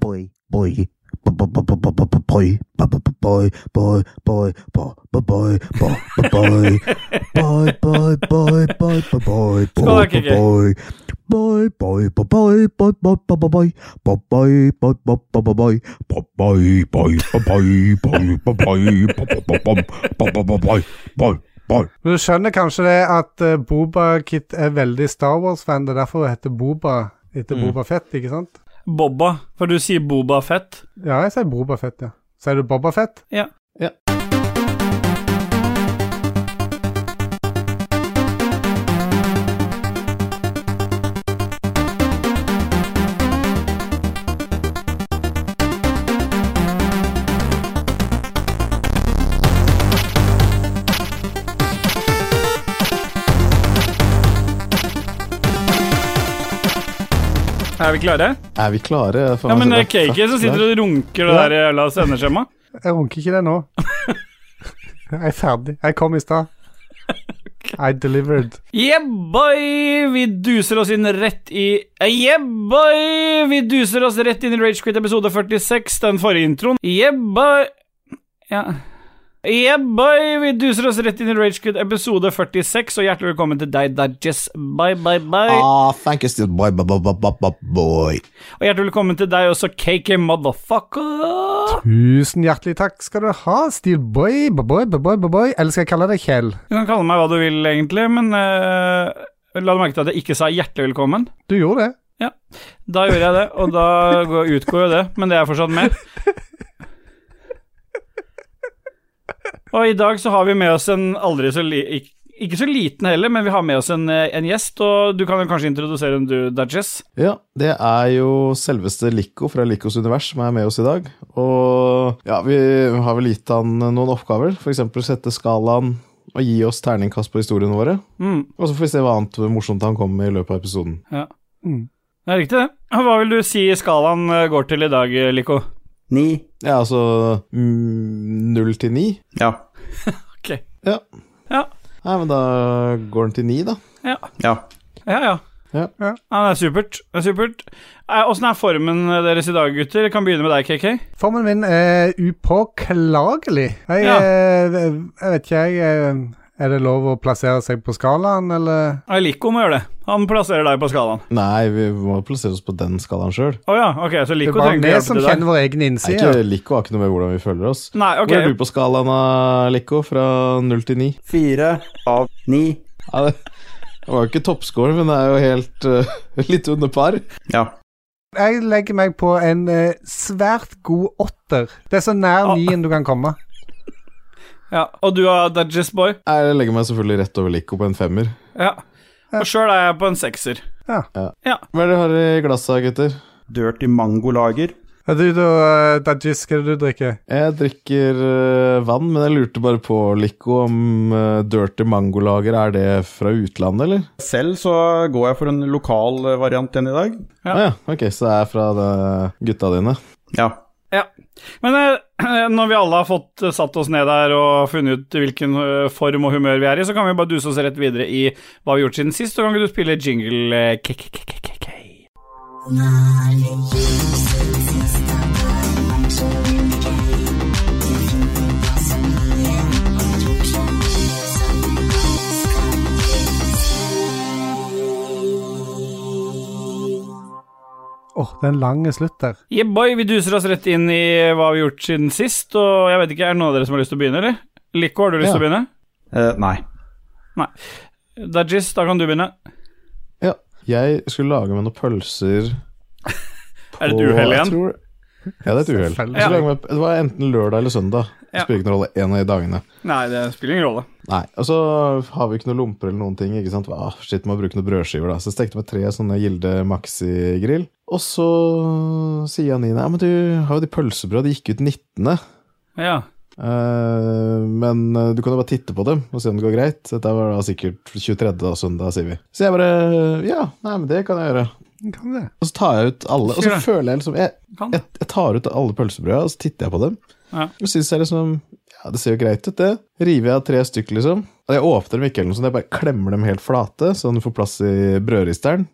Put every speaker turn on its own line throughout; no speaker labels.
boy, boy, boy, boy, boy, boy, boy, boy, boy, boy, boy, boy, boy, boy, boy, boy, boy, boy,
Skakig.
boy. Boy, boy, boy, boy, boy, boy, boy, boy, boy, boy, boy, boy, boy, boy, boy, boy, boy, boy, boy, boy, boy, boy, boy, boy, boy, boy, boy, boy, boy, boy.
Men du skjønner kanskje det at eh, Boba Kit er veldig Star Wars-fan, det er derfor hun heter Boba etter Boba Fett, ikke sant?
Bobba, for du sier Boba Fett.
Ja, jeg sier Boba Fett, ja. Sier du Boba Fett?
Ja.
Ja.
Er vi klare?
Er vi klare? Jeg får
Ja, men
meg
det er
så-
Cakey som sitter og runker det
Ja.
der jævla sendeskjemaet.
Jeg runker ikke det nå. jeg er ferdig. Jeg kom i stad. I delivered.
Yeah, boy! Vi duser oss inn rett i Yeah, boy! Vi duser oss rett inn i Ragequit episode 46, den forrige introen. Yeah, boy! Ja. Yeah, boy! Vi duser oss rett inn i Ragequit episode 46, og hjertelig velkommen til deg, Dajess. Bye, bye, bye.
Ah, thank you still, boy, boy, boy, boy, boy, boy, boy.
Og hjertelig velkommen til deg også, KK Motherfucker.
Tusen hjertelig takk skal du ha, Steel Boy, boy, boy, boy, boy. Eller skal jeg kalle deg Kjell?
Du kan kalle meg hva du vil, egentlig, men eh, la du merke til at jeg ikke sa hjertelig velkommen.
Du gjorde det.
Da gjorde jeg det, og da går- utgår jo det, men det er fortsatt med. Og i dag så har vi med oss en aldri så li ik- ikke så liten heller, men vi har med oss en, eh, en gjest, og du kan jo kanskje introdusere en du, Dajess.
Ja, det er jo selveste Lico fra Licos univers som er med oss i dag. Og ja, vi har vel gitt han noen oppgaver. F.eks. sette skalaen og gi oss terningkast på historiene våre.
Mm,
Og så får vi se hva annet morsomt han kommer med i løpet av episoden.
ja.
Mm.
Det er riktig, det. Hva vil du si skalaen eh, går til i dag, Liko?
Ni.
Ja, altså mm, null til ni.
Ja,
Ok.
Ja.
Ja.
Nei, men da går den til ni, da.
Ja,
ja.
ja. ja.
Ja.
Ja.
det er supert. Det er supert. Eh, Åssen er formen deres i dag, gutter? Jeg kan begynne med deg, KK.
Formen min er upåklagelig. Jeg,
Ja.
eh, jeg vet ikke, jeg eh, Er det lov å plassere seg på skalaen, eller?
Ja, Liko må gjøre det. Han plasserer deg på skalaen.
Nei, vi må plassere oss på den skalaen sjøl.
Å ja, ok, så
Det
Lico
er bare
trenger
vi
hjelp
som
til deg.
kjenner vår egen
Ikke
innside.
Lico har ikke noe med hvordan vi føler oss.
Nei, ok.
Hvor er du på skalaen, da, Lico? Fra null til ni?
Fire av ni.
Ja, det det var jo ikke toppscoren, men det er jo helt eh, litt under par.
Ja.
Jeg legger meg på en eh, svært god åtter. Det er så nær
Ah.
nien du kan komme.
Ja, og du er Dudges boy?
Jeg legger meg selvfølgelig rett over Lico på en femmer.
Ja. Og sjøl er jeg på en sekser.
Hva er det dere har i glasset, gutter?
Dirty mangolager.
Er du da, eh, Dajis, hva er det du drikker?
Jeg drikker eh, vann, men jeg lurte bare på, Lico, om eh, Dirty Mangolager er det fra utlandet, eller?
Selv så går jeg for en lokal eh, variant igjen i dag.
Ja.
Ja. Ah, ja. Ok, så det er fra det, gutta dine.
Ja.
Men eh, når vi alle har fått eh, satt oss ned der og funnet ut hvilken eh, form og humør vi er i, så kan vi bare duse oss rett videre i hva vi har gjort siden sist. Så kan ikke du spille jingle eh, k- k- k- k- k-
Åh, det er en lang slutt der.
Yeah, boy, vi duser oss rett inn i hva vi har gjort siden sist, og jeg vet ikke, er det noen av dere som har lyst til å begynne, eller? Lico, har du lyst
Ja.
til å begynne?
Eh, nei.
Dudges, da kan du begynne.
Ja. Jeg skulle lage meg noen pølser
Er det
på-
et uhell
jeg
igjen?
tror- Ja, det er et uhell. Jeg
Selvfølgelig.
skulle lage meg- Det var enten lørdag eller søndag. Det
Ja.
Spiller ikke noen rolle. En av de dagene.
Nei, det spiller ingen rolle.
Nei, Og så har vi ikke noen lomper eller noen ting. ikke sant? Ah, shit, må bruke noen brødskiver, da. Så jeg stekte meg tre sånne Gilde Maxi-grill. Og så sier Janine ja, men du har jo de pølsebrød, de gikk ut 19.
Ja.
Eh, men eh, du kan jo bare titte på dem og se om det går greit. Dette var da sikkert 23. Da, søndag, sier vi. Så jeg bare Ja, nei, men det kan jeg gjøre.
Kan det.
Og så tar jeg ut alle. Og
Sier
så
det.
føler jeg liksom Jeg,
Kan.
jeg, jeg tar ut alle pølsebrøda, og så titter jeg på dem.
Ja.
Og syns jeg liksom Ja, det ser jo greit ut, det. River jeg av tre stykker, liksom. Og jeg åpner dem ikke, eller noe sånt. Jeg bare klemmer dem helt flate, sånn du får plass i brødristeren.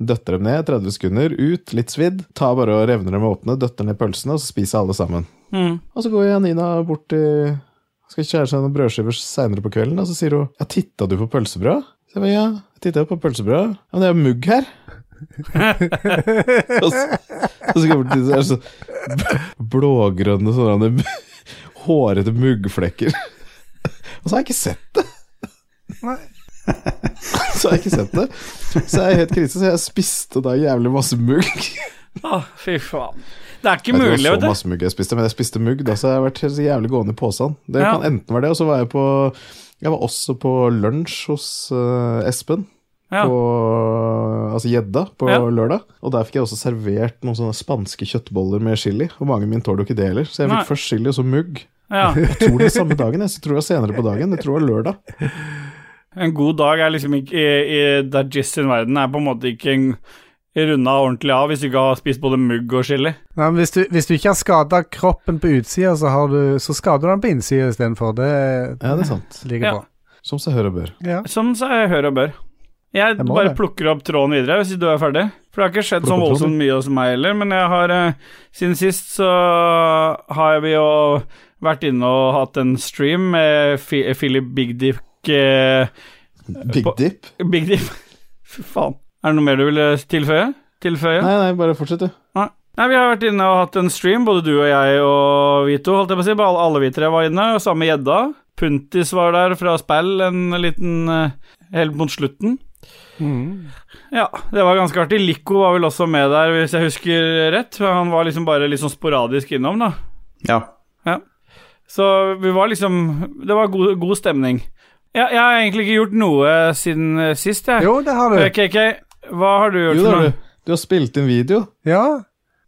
Døtter dem ned 30 sekunder, ut, litt svidd. Tar bare og revner dem åpne, døtter ned pølsene, og så spiser alle sammen.
Mm.
Og så går Janina bort til Skal skjære seg noen brødskiver seinere på kvelden, og så sier hun Ja, titta du på pølsebrød? Så jeg bare, ja, jeg titta på pølsebrød. Ja, men det er jo mugg her. og så, og så går jeg bort til så er det sånn bl- blågrønne sånne hårete muggflekker. Og så har jeg ikke sett det.
Nei.
Så har jeg ikke sett det. Så jeg er helt krise, så jeg spiste da jævlig masse mugg.
Å, fy faen. Det er ikke
Jeg vet
mulig,
ikke
vet
om det var så
du.
masse mugg jeg spiste, men jeg spiste mugg. Da, så jeg har vært helt så jævlig gående i posen. Det
Ja.
kan enten være det, og så var jeg på Jeg var også på lunsj hos eh, Espen.
Ja.
På, altså gjedda på
Ja.
lørdag. Og der fikk jeg også servert noen sånne spanske kjøttboller med chili. Og magen min tåler jo ikke det heller, så jeg
Nei.
fikk først chili og så mugg.
Ja.
Jeg tror det er samme dagen, jeg så tror det var senere på dagen. Jeg tror det var lørdag.
En god dag er liksom ikke i, i Dajis sin verden er på en måte ikke en runda ordentlig av hvis du ikke har spist både mugg og chili.
Nei, men hvis, du, hvis du ikke har skada kroppen på utsida, så, har du- så skader du den på innsida istedenfor. Det
Ja, det er sant.
ligger
Ja.
bra.
Som seg hør og bør.
Ja.
Som seg Sånn hør og bør. Jeg
Jeg må
bare
det.
plukker opp tråden videre hvis du er ferdig. For det har ikke skjedd
Plukk
så
opp tråden.
voldsomt mye hos meg heller, men jeg har eh, Siden sist så har vi jo vært inne og hatt en stream med Fi- Philip Big Dick eh,
Big
På-
dip?
Big Dick Fy faen. Er det noe mer du ville tilføye? Tilføye?
Nei, nei, bare fortsett, du.
Nei, vi har vært inne og hatt en stream, både du og jeg og vi to, holdt jeg på å si. Bare alle, alle vi tre var inne, og samme gjedda. Puntis var der fra spill en liten eh, Helt mot slutten. Ja, det var ganske artig. Lico var vel også med der, hvis jeg husker rett. Han var liksom bare litt sånn sporadisk innom, da.
Ja.
Så vi var liksom Det var god, god stemning. Jeg, jeg har egentlig ikke gjort noe siden eh, sist, jeg.
Jo, det har du.
Eh, KK, hva har du gjort
Jo da,
for noe?
du. Du har spilt inn video.
Ja.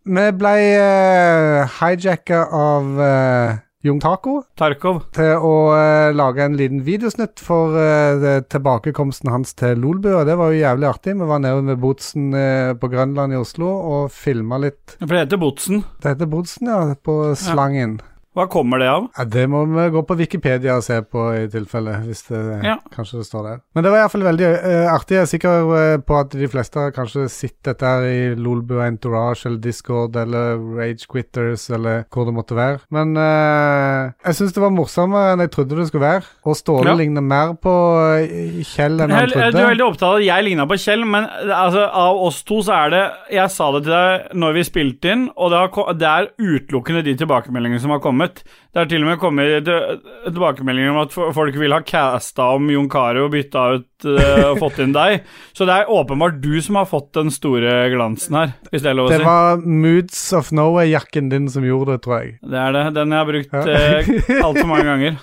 Vi ble uh, hijacka av eh, Jung Taco
Tarkov.
til å eh, lage en liten videosnutt for eh, det- tilbakekomsten hans til Lolbua. Det var jo jævlig artig. Vi var nede ved Bodsen eh, på Grønland i Oslo og filma litt.
For det heter Botsen.
Det heter Bodsen, ja. På Slangen.
Hva kommer det av?
Ja, det må vi gå på Wikipedia og se på i tilfelle, hvis det
Ja.
kanskje det står der. Men det var iallfall veldig eh, artig. Jeg er sikker eh, på at de fleste har kanskje sett dette her i Lolbua Entourage eller Discord eller Rage Quitters eller hvor det måtte være. Men eh, jeg syns det var morsommere enn jeg trodde det skulle være. Og Ståle
Ja.
ligner mer på eh, Kjell enn han
Hel- eh, Du er
trodde.
veldig opptatt av at jeg ligna på Kjell, men eh, altså, av oss to så er det Jeg sa det til deg når vi spilte inn, og det, har, ko- det er utelukkende de tilbakemeldingene som har kommet. Det har til og med kommet til- tilbakemeldinger om at fo- folk vil ha casta om Jon Carew og bytta ut eh, og fått inn deg. Så det er åpenbart du som har fått den store glansen her, hvis det er lov å
Det
si.
var Moods of Norway-jakken din som gjorde det, tror jeg.
Det er det. Den jeg har brukt
Ja.
eh, altfor mange ganger.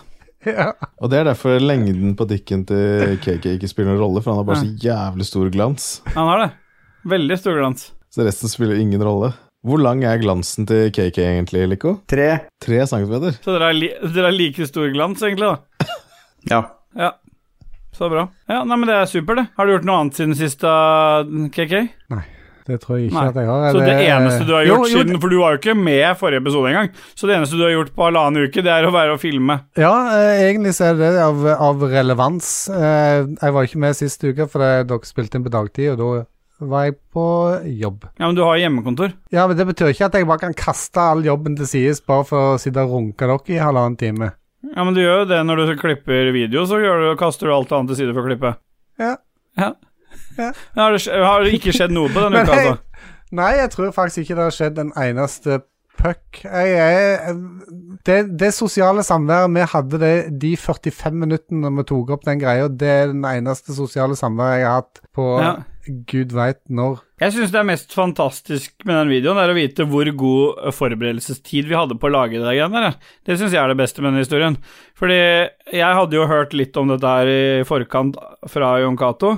Ja.
Og det er derfor lengden på dikken til KK ikke spiller noen rolle, for han har bare så jævlig stor glans.
Han har det. Veldig stor glans.
Så resten spiller ingen rolle. Hvor lang er glansen til KK egentlig, Lico?
Tre.
Tre centimeter?
Så dere har li dere har like stor glans, egentlig, da.
Ja.
Ja, så bra. Ja, nei, men Det er supert, det. Har du gjort noe annet siden sist, da, KK?
Det tror jeg ikke
Nei.
at jeg har.
Så det eneste du har
Jo,
gjort
jo,
siden For du var jo ikke med i forrige episode engang. Så det eneste du har gjort på halvannen uke, det er å være og filme.
Ja, eh, egentlig så er det av, av relevans. Eh, jeg var ikke med sist uke, for eh, dere spilte inn på dagtid, og da var jeg på jobb.
Ja, men du har hjemmekontor.
Ja, men det betyr ikke at jeg bare kan kaste all jobben til sides bare for å sitte og runke dere i halvannen time.
Ja, men du gjør jo det når du klipper video, så gjør du, kaster du alt annet til side for å klippe.
Ja.
Ja.
Ja.
Men Har, det, skj- har det ikke skjedd noe på denne
Men
uka,
hei.
altså?
Nei, jeg tror faktisk ikke det har skjedd en eneste puck. Jeg er Det, det sosiale samværet vi hadde det, de 45 minuttene vi tok opp den greia, det er den eneste sosiale samværet jeg har hatt på
Ja.
gud veit når.
Jeg syns det er mest fantastisk med den videoen, er å vite hvor god forberedelsestid vi hadde på å lage det greiene der. jeg. Det syns jeg er det beste med den historien. Fordi jeg hadde jo hørt litt om dette her i forkant fra Jon Cato,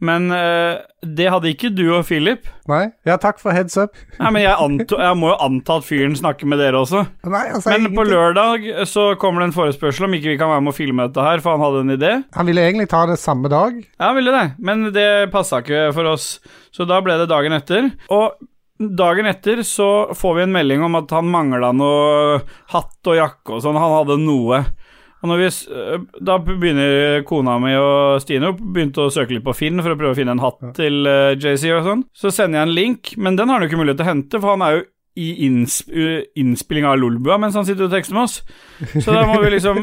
men eh, det hadde ikke du og Philip.
Nei? Ja, takk for heads up.
Nei, men jeg, anto, jeg må jo anta at fyren snakker med dere også.
Nei, altså,
Men på
ingenting.
lørdag så kommer det en forespørsel om ikke vi kan være med å filme dette her, for han hadde en idé.
Han ville egentlig ta det samme dag.
Ja, han ville det, men det passa ikke for oss, så da ble det dagen etter. Og dagen etter så får vi en melding om at han mangla noe hatt og jakke og sånn, han hadde noe. Og når vi, s- øh, da begynner kona mi og Stine opp, begynte å søke litt på Finn for å prøve å finne en hatt til uh, JC og sånn. Så sender jeg en link, men den har han jo ikke mulighet til å hente, for han er jo i innsp øh, innspilling av Lolbua mens han sitter og tekster med oss. Så da må vi liksom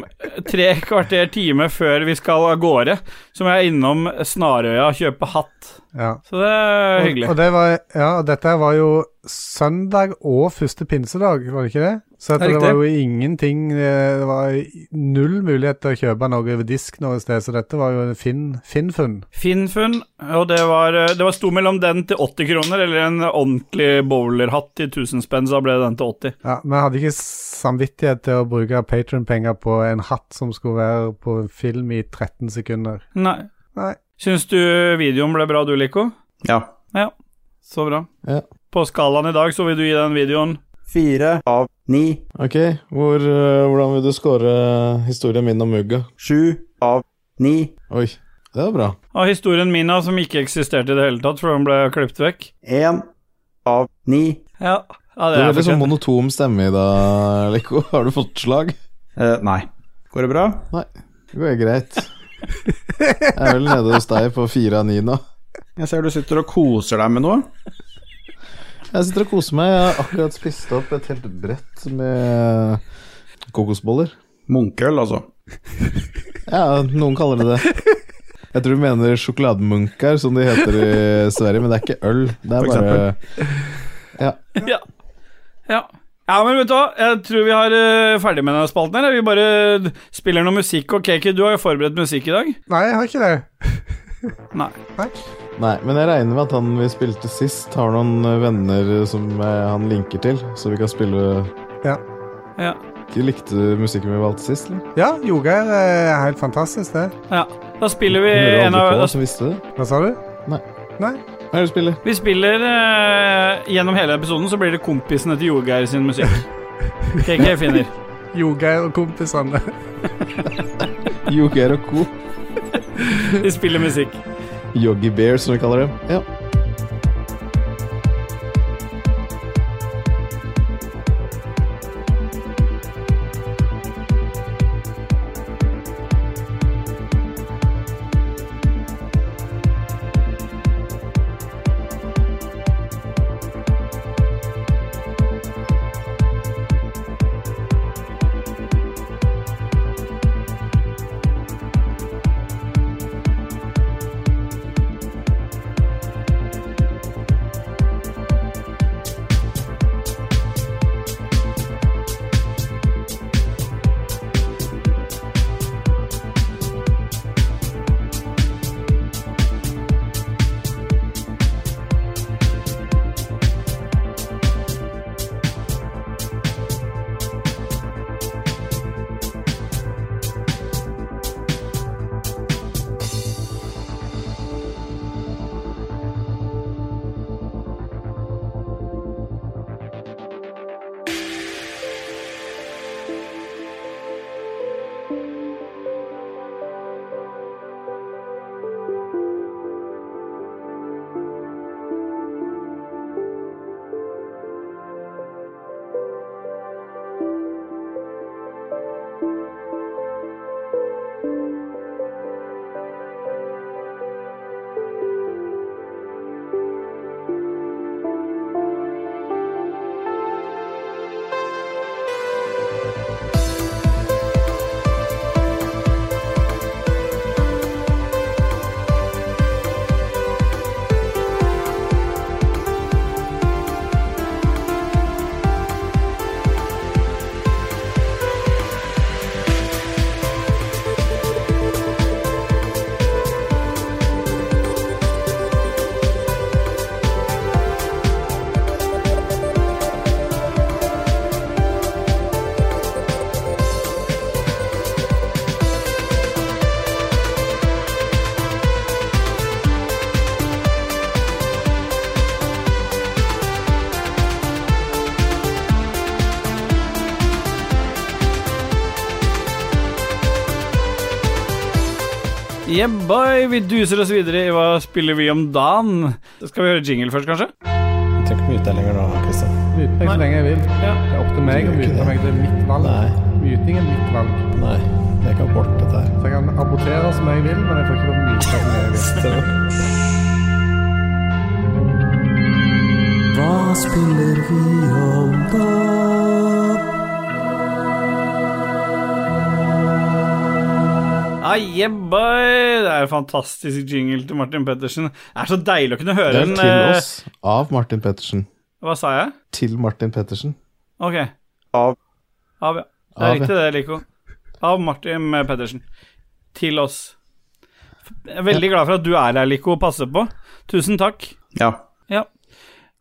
tre kvarter time før vi skal av gårde, så må jeg innom Snarøya og kjøpe hatt.
Ja.
Så det er
Og,
hyggelig.
og det var, ja, og dette her var jo søndag og første pinsedag, var det ikke det? Så at
Det er
det,
riktig.
var jo ingenting eh, Det var null mulighet til å kjøpe noe over disk noe sted, så dette var jo en fin, fin funn.
Finnfunn, og det var, eh, det var sto mellom den til 80 kroner, eller en ordentlig bowlerhatt til 1000 spenn, så da ble den til 80.
Ja, men jeg hadde ikke samvittighet til å bruke patronpenger på en hatt som skulle være på film i 13 sekunder.
Nei.
Nei.
Syns du videoen ble bra, du, Lico?
Ja.
Så bra.
Ja.
På skalaen i dag så vil du gi den videoen
Fire av ni.
Ok, hvor, eh, hvordan vil du score eh, historien min om mugga?
Sju av ni.
Oi, det var bra.
av historien min da, som ikke eksisterte i det hele tatt, for den ble klippet vekk.
Én av ni.
Ja, ja
Du
det
har
er
veldig sånn
fortjent.
monotom stemme i dag, Leko. Har du fått slag?
Eh, nei. Går det bra?
Det går greit. Jeg er vel nede hos deg på fire av ni nå.
Jeg ser du sitter og koser deg med noe.
Jeg sitter og koser meg. Jeg har akkurat spist opp et helt brett med kokosboller.
Munkeøl, altså.
Ja, noen kaller det det. Jeg tror du mener sjokolademunker, som de heter i Sverige, men det er ikke øl. Det
For
er bare
Ja. ja. Ja, men vet du hva, jeg tror vi har eh, ferdig med denne spalten her. Vi bare eh, spiller noe musikk. Og Kaki, du har jo forberedt musikk i dag.
Nei, jeg har ikke det.
Nei.
Nei, men jeg regner med at han vi spilte sist, har noen venner som eh, han linker til, så vi kan spille
Ja.
De likte musikken vi valgte sist, eller?
Ja, Jogeir er eh, helt fantastisk, det.
ja. Da spiller vi
Hører
en av
aldri på, altså.
da
så visste det.
Hva sa du?
Hva er det du spiller?
Vi spiller eh, gjennom hele episoden, så blir det kompisene til Jorgeir sin musikk. KK finner.
Jogeir og kompisene.
Yoger og Co.
De spiller musikk.
Yogi Bear, som vi kaller dem. Ja.
Yeah, boy, vi duser oss videre i Hva spiller vi om dagen? Da skal vi høre jingle først, kanskje?
Jeg trenger ikke mye deg lenger nå, Kristian.
Myte meg så lenge jeg vil.
Ja.
Det er opp til meg å
Du gjør ikke
myte
det.
meg. Det er mitt valg.
Nei.
Myting er mitt valg.
Nei. Jeg kan borte dette her.
Så jeg kan abortere som jeg vil, men jeg får ikke lov å myte som jeg vil.
Hva spiller vi om da?
Ajebba! Ah, Det er en fantastisk jingle til Martin Pettersen. Det er så deilig å kunne høre
Det er
den.
til
eh,
oss av Martin Pettersen.
Hva sa jeg?
Til Martin Pettersen.
Ok.
Av.
Av, ja. Det er
Av, ja.
riktig det, Lico. Av Martin eh, Pettersen. Til oss. Jeg er veldig glad for at du er her, Lico, og passer på. Tusen takk.
Ja.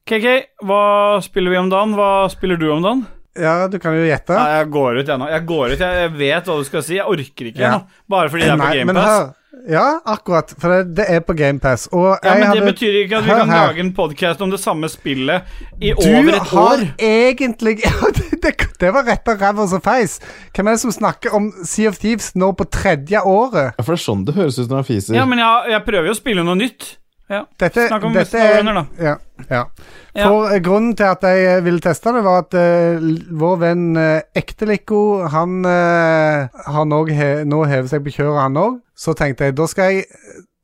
KK, hva spiller vi om dagen? Hva spiller du om dagen?
Ja, du kan jo gjette.
Nei, jeg går ut, jeg nå. Jeg går ut, jeg jeg vet hva du skal si. Jeg orker ikke
Ja.
nå. Bare fordi det er på
Nei, men
GamePass.
hør. Ja, akkurat. For det, det er på GamePass. Og
Ja,
jeg
men det
hadde-
betyr ikke at vi
Hør
kan
her.
lage en podkast om det samme spillet i
Du
over et
har
år.
egentlig ja, det, det, det var rett av ræva som feis. Hvem er det som snakker om Sea of Thieves nå på tredje året?
Ja, for det er sånn det høres ut når han fiser.
Ja, men jeg, jeg prøver jo å spille noe nytt. Ja.
Dette,
Snakk om
dette
Western Runner, da.
Ja, ja.
Ja.
For eh, Grunnen til at jeg eh, ville teste det, var at eh, l- vår venn eh, Ekteliko Han eh, har nå he, nå hevet seg på kjøret, han òg. Så tenkte jeg da skal jeg,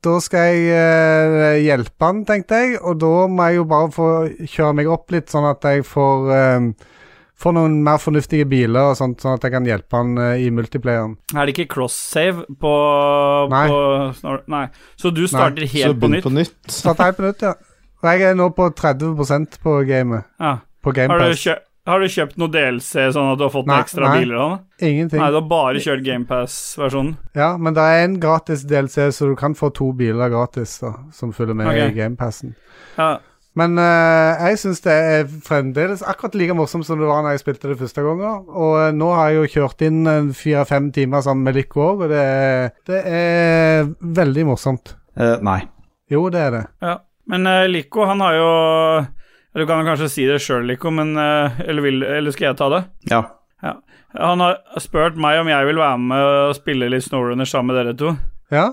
da skal jeg eh, hjelpe han, tenkte jeg. Og da må jeg jo bare få kjøre meg opp litt, sånn at jeg får eh, Får noen mer fornuftige biler, og sånt, sånn at jeg kan hjelpe han eh, i multiplayeren.
Er det ikke cross-save på,
Nei.
på snor- Nei. Så du starter
så
helt på
begynn
nytt?
på nytt.
Så at jeg på nytt, ja. Og jeg er nå på 30 på gamet.
Ja.
På
Har, du
GamePass.
kjøpt, har du kjøpt noe DLC, sånn at du har fått
Nei,
noen ekstra
nei.
biler? Anne?
Ingenting.
Nei, du har bare kjørt GamePass-versjonen.
Ja, men det er en gratis DLC, så du kan få to biler gratis da, som følger med
Ok.
i GamePassen.
Ja.
Men eh, jeg syns det er fremdeles akkurat like morsomt som det var når jeg spilte det første gangen. Og eh, nå har jeg jo kjørt inn en fire-fem timer sammen med Lykke òg, og det er, det er veldig morsomt.
Eh, nei.
Jo, det er det.
ja. Men eh, Lico, han har jo Du kan jo kanskje si det sjøl, Lico, men eh, eller, vil, eller skal jeg ta det?
Ja.
Ja. Han har spurt meg om jeg vil være med og spille litt Snowrunner sammen med dere to.
Ja?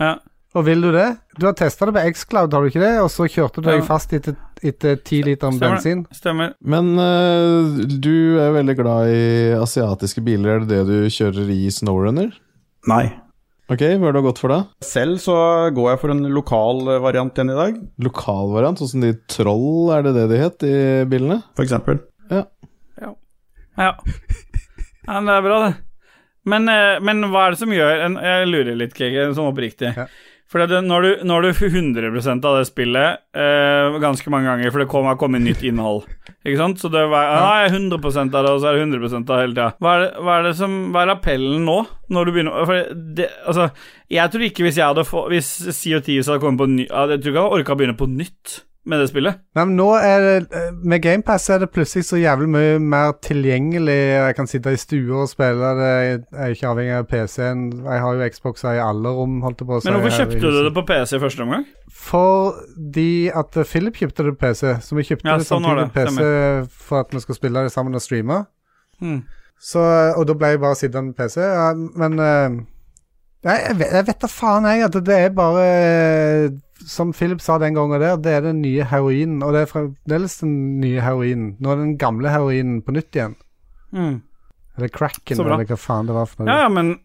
Ja.
Og vil du det? Du har testa det på Xcloud, har du ikke det? Og så kjørte du
Ja.
deg fast etter, etter 10 liter
Stemmer det.
bensin.
Stemmer.
Men eh, du er jo veldig glad i asiatiske biler. Er det det du kjører i Snowrunner?
Nei.
Ok, hva har du gått for da?
Selv så går jeg for en lokal eh, variant igjen i dag,
Lokalvariant, sånn som de Troll, er det det de het, de bilene?
for eksempel.
Ja. ja, men det er bra, det. Men, eh, men hva er det som gjør en, Jeg lurer litt, KK, sånn oppriktig.
Ja.
For at det, når, du, når du 100 av det spillet eh, ganske mange ganger, for det kom- har kommet nytt innhold Ikke sant? Så det var Nei, 100 av det, og så er det 100 av hele tida. Hva, er det- hva er det som Hva er appellen nå, når du begynner For det, altså Jeg tror ikke hvis jeg hadde få, Hvis CO10 hadde kommet på ny Jeg tror ikke jeg hadde orka å begynne på nytt med det spillet.
Nei, men nå er det eh, Med GamePass er det plutselig så jævlig mye mer tilgjengelig. Jeg kan sitte i stua og spille det. Jeg er ikke avhengig av PC-en. Jeg har jo Xbox i alle rom, holdt jeg på å si.
Men hvorfor
her i
kjøpte du det
huset.
på PC i første omgang?
Fordi at eh, Philip kjøpte det på PC. Så vi kjøpte
Ja,
det
sånn var det.
samtidig på PC for at vi skulle spille det sammen og streame.
Hmm.
Så, og da ble jeg bare sittende med PC. Ja, men eh, Nei, jeg vet, jeg vet da faen, jeg. At det er bare eh, Som Philip sa den gangen der, det er den nye heroinen. Og det er fremdeles den nye heroinen. Nå er den gamle heroinen på nytt igjen.
Hmm.
Eller cracken,
Så bra.
eller hva faen det var for noe.
Ja, ja, men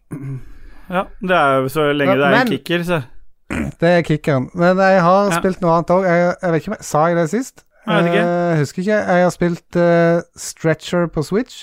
Ja, det er jo så lenge
Ja,
det er en
men-
kicker, så
Det er kickeren. Men jeg har
Ja.
spilt noe annet òg. Jeg, jeg vet ikke om jeg Sa jeg det sist?
Jeg vet ikke.
Eh, husker ikke. Jeg har spilt eh, Stretcher på Switch.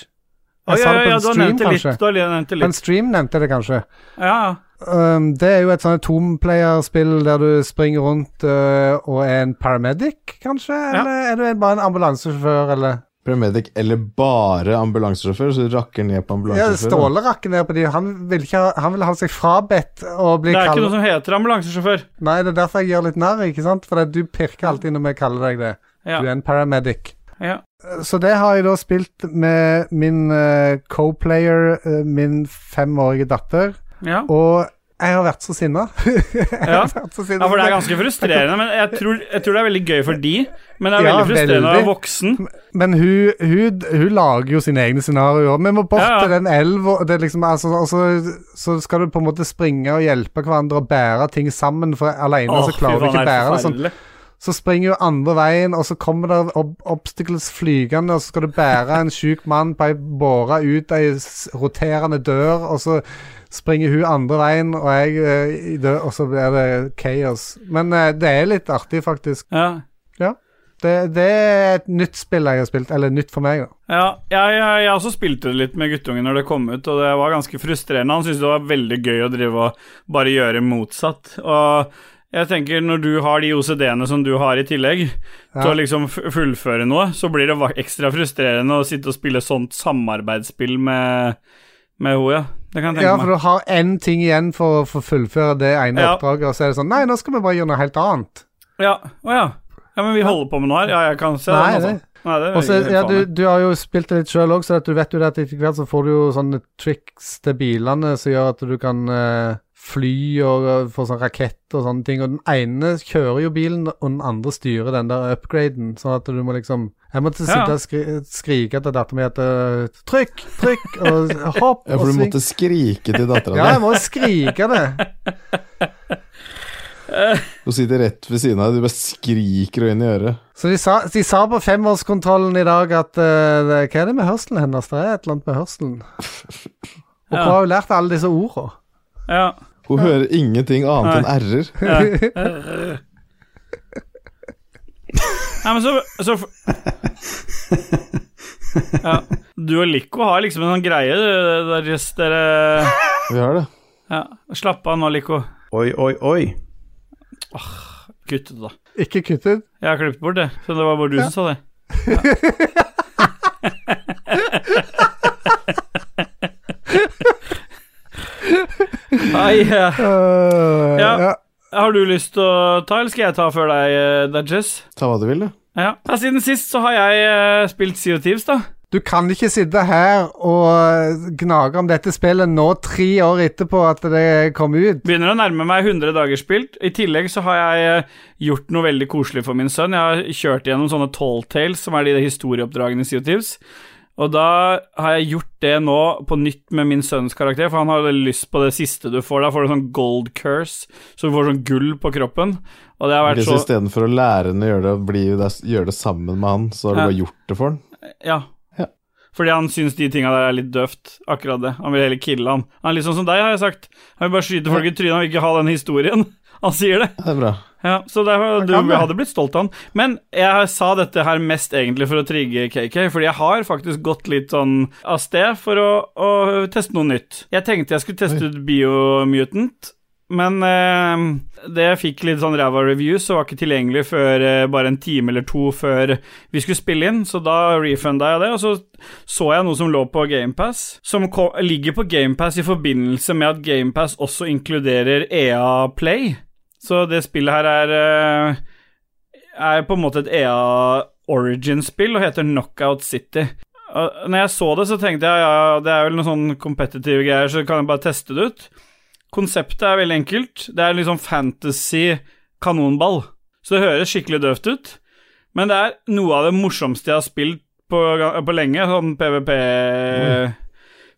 Oi,
Jeg sa
oi,
det på
oi, ja,
en
du har
stream,
nevnt det litt.
kanskje.
Du har nevnt det
På en
litt.
stream nevnte jeg det kanskje.
Ja, ja.
Um, det er jo et sånt tomplayer-spill der du springer rundt øh, og er en paramedic, kanskje? Eller er du en- bare en ambulansesjåfør, eller?
Paramedic eller bare ambulansesjåfør, så du rakker ned på
Ja,
ambulansesjåfør.
Ståle rakker ned på de. Han vil, ikke ha, han vil ha seg frabedt å bli
Det er ikke noe
kalt
som heter ambulansesjåfør.
Nei, det er derfor jeg gjør litt narr, ikke sant? For det- du pirker alltid når vi kaller deg det.
Ja,
Du er en paramedic.
ja.
Så det har jeg da spilt med min øh, co-player, øh, min femårige datter,
ja.
og jeg har vært så sinna. ja.
Ja. Ja, for det er ganske frustrerende, men jeg tror, jeg tror det er veldig gøy for de. Men det er
Ja,
veldig frustrerende å
veldig.
være voksen.
Men hun, hun, hun lager jo sine egne scenarioer. Vi må bort
Ja, ja.
til den elva, og det er liksom, altså, og så- så skal du på en måte springe og hjelpe hverandre og bære ting sammen, for alene
Åh,
så klarer
fy
du
faen,
ikke
det er
bære det. Sånn,
forferdelig.
så springer hun andre veien, og så kommer det ob obstacles flygende, og så skal du bære en sjuk mann på ei båre ut ei s- roterende dør, og så springer hun andre veien, og jeg eh, i dø- og så blir det chaos. Men eh, det er litt artig, faktisk.
Ja.
Det, det er et nytt spill jeg har spilt, eller nytt for meg, da.
Ja, jeg, jeg, jeg også spilte det litt med guttungen når det kom ut, og det var ganske frustrerende. Han syntes det var veldig gøy å drive og bare gjøre motsatt. Og jeg tenker, når du har de OCD-ene som du har i tillegg, til
Ja.
å liksom f- fullføre noe, så blir det va- ekstra frustrerende å sitte og spille sånt samarbeidsspill med, med henne, ja. Det kan jeg tenke
Ja,
meg.
for du har én ting igjen for å få fullføre det ene
Ja.
oppdraget, og så er det sånn Nei, nå skal vi bare gjøre noe helt annet.
Ja, å ja. Ja, men vi holder på med noe her. Ja, jeg kan se
Nei,
den, altså. Nei, det.
Og så,
gir
ja,
faen
du,
i.
du har jo spilt det litt sjøl òg, så at du vet jo det at etter hvert så får du jo sånne tricks til bilene som gjør at du kan eh, fly og eh, få sånn rakett og sånne ting. Og den ene kjører jo bilen, og den andre styrer den der upgraden, sånn at du må liksom Jeg måtte sitte
Ja.
og skri skrike til dattera mi at eh, Trykk, trykk, og hopp
Ja, for
og
du
sving.
måtte skrike til dattera
Ja,
di.
jeg må skrike det.
Hun sitter rett ved siden av deg, du bare skriker henne inn i øret.
Så de sa, de sa på femårskontrollen i dag at eh, det- Hva er det med hørselen hennes? Det er et eller annet med hørselen. Og hvor
Ja.
har hun lært alle disse orda?
Ja.
Hun hører ingenting annet enn r-er.
Nei, men så, så ja. Du og Lico har liksom en sånn greie du, der just dere
Vi har det.
ja. Slapp av nå, Lico.
Oi, oi, oi.
Kutt det, da.
Ikke kutt ut.
Jeg har klippet bort det, så det var bare du som sa det. Ja. Ai, ja.
Øh,
Ja.
ja.
Har du lyst til å ta, eller skal jeg ta før deg, eh, der, Jess?
Ta hva du vil, du.
Ja. ja, siden sist så har jeg eh, spilt Sea of Thieves, da.
Du kan ikke sitte her og eh, gnage om dette spillet nå, tre år etterpå at det kom ut.
Begynner å nærme meg 100 dager spilt. I tillegg så har jeg eh, gjort noe veldig koselig for min sønn. Jeg har kjørt gjennom sånne tall tales, som er de historieoppdragene i CO2s. Og da har jeg gjort det nå på nytt med min sønns karakter, for han har veldig lyst på det siste du får. Da får du sånn gold curse, så du får sånn gull på kroppen. Og det har vært
Hvis
så
istedenfor å lære henne å gjøre det, bli, gjøre det sammen med han, så har du
Ja.
bare gjort det for han.
Ja.
Ja.
Fordi han syns de tinga der er litt døvt, akkurat det. Han vil heller kille han. Han er litt sånn som deg, har jeg sagt. Han vil bare skyte folk i trynet, han vil ikke ha den historien. Han sier det.
Ja, Det er bra.
Ja, så derfor, du,
kan det.
jeg hadde blitt stolt av han. Men jeg sa dette her mest egentlig for å trigge KK, fordi jeg har faktisk gått litt sånn av sted for å, å teste noe nytt. Jeg tenkte jeg skulle teste ut Biomutant, men eh, det fikk litt sånn ræva reviews og var ikke tilgjengelig før eh, bare en time eller to før vi skulle spille inn, så da refunda jeg det, og så så jeg noe som lå på GamePass, som ko- ligger på GamePass i forbindelse med at GamePass også inkluderer EA Play. Så det spillet her er eh, Er på en måte et EA Origin-spill og heter Knockout City. Og når jeg så det, så tenkte jeg ja, det er vel noen sånn competitive greier, så kan jeg bare teste det ut. Konseptet er veldig enkelt. Det er liksom fantasy-kanonball. Så det høres skikkelig døvt ut. Men det er noe av det morsomste jeg har spilt på, på lenge, sånn PVP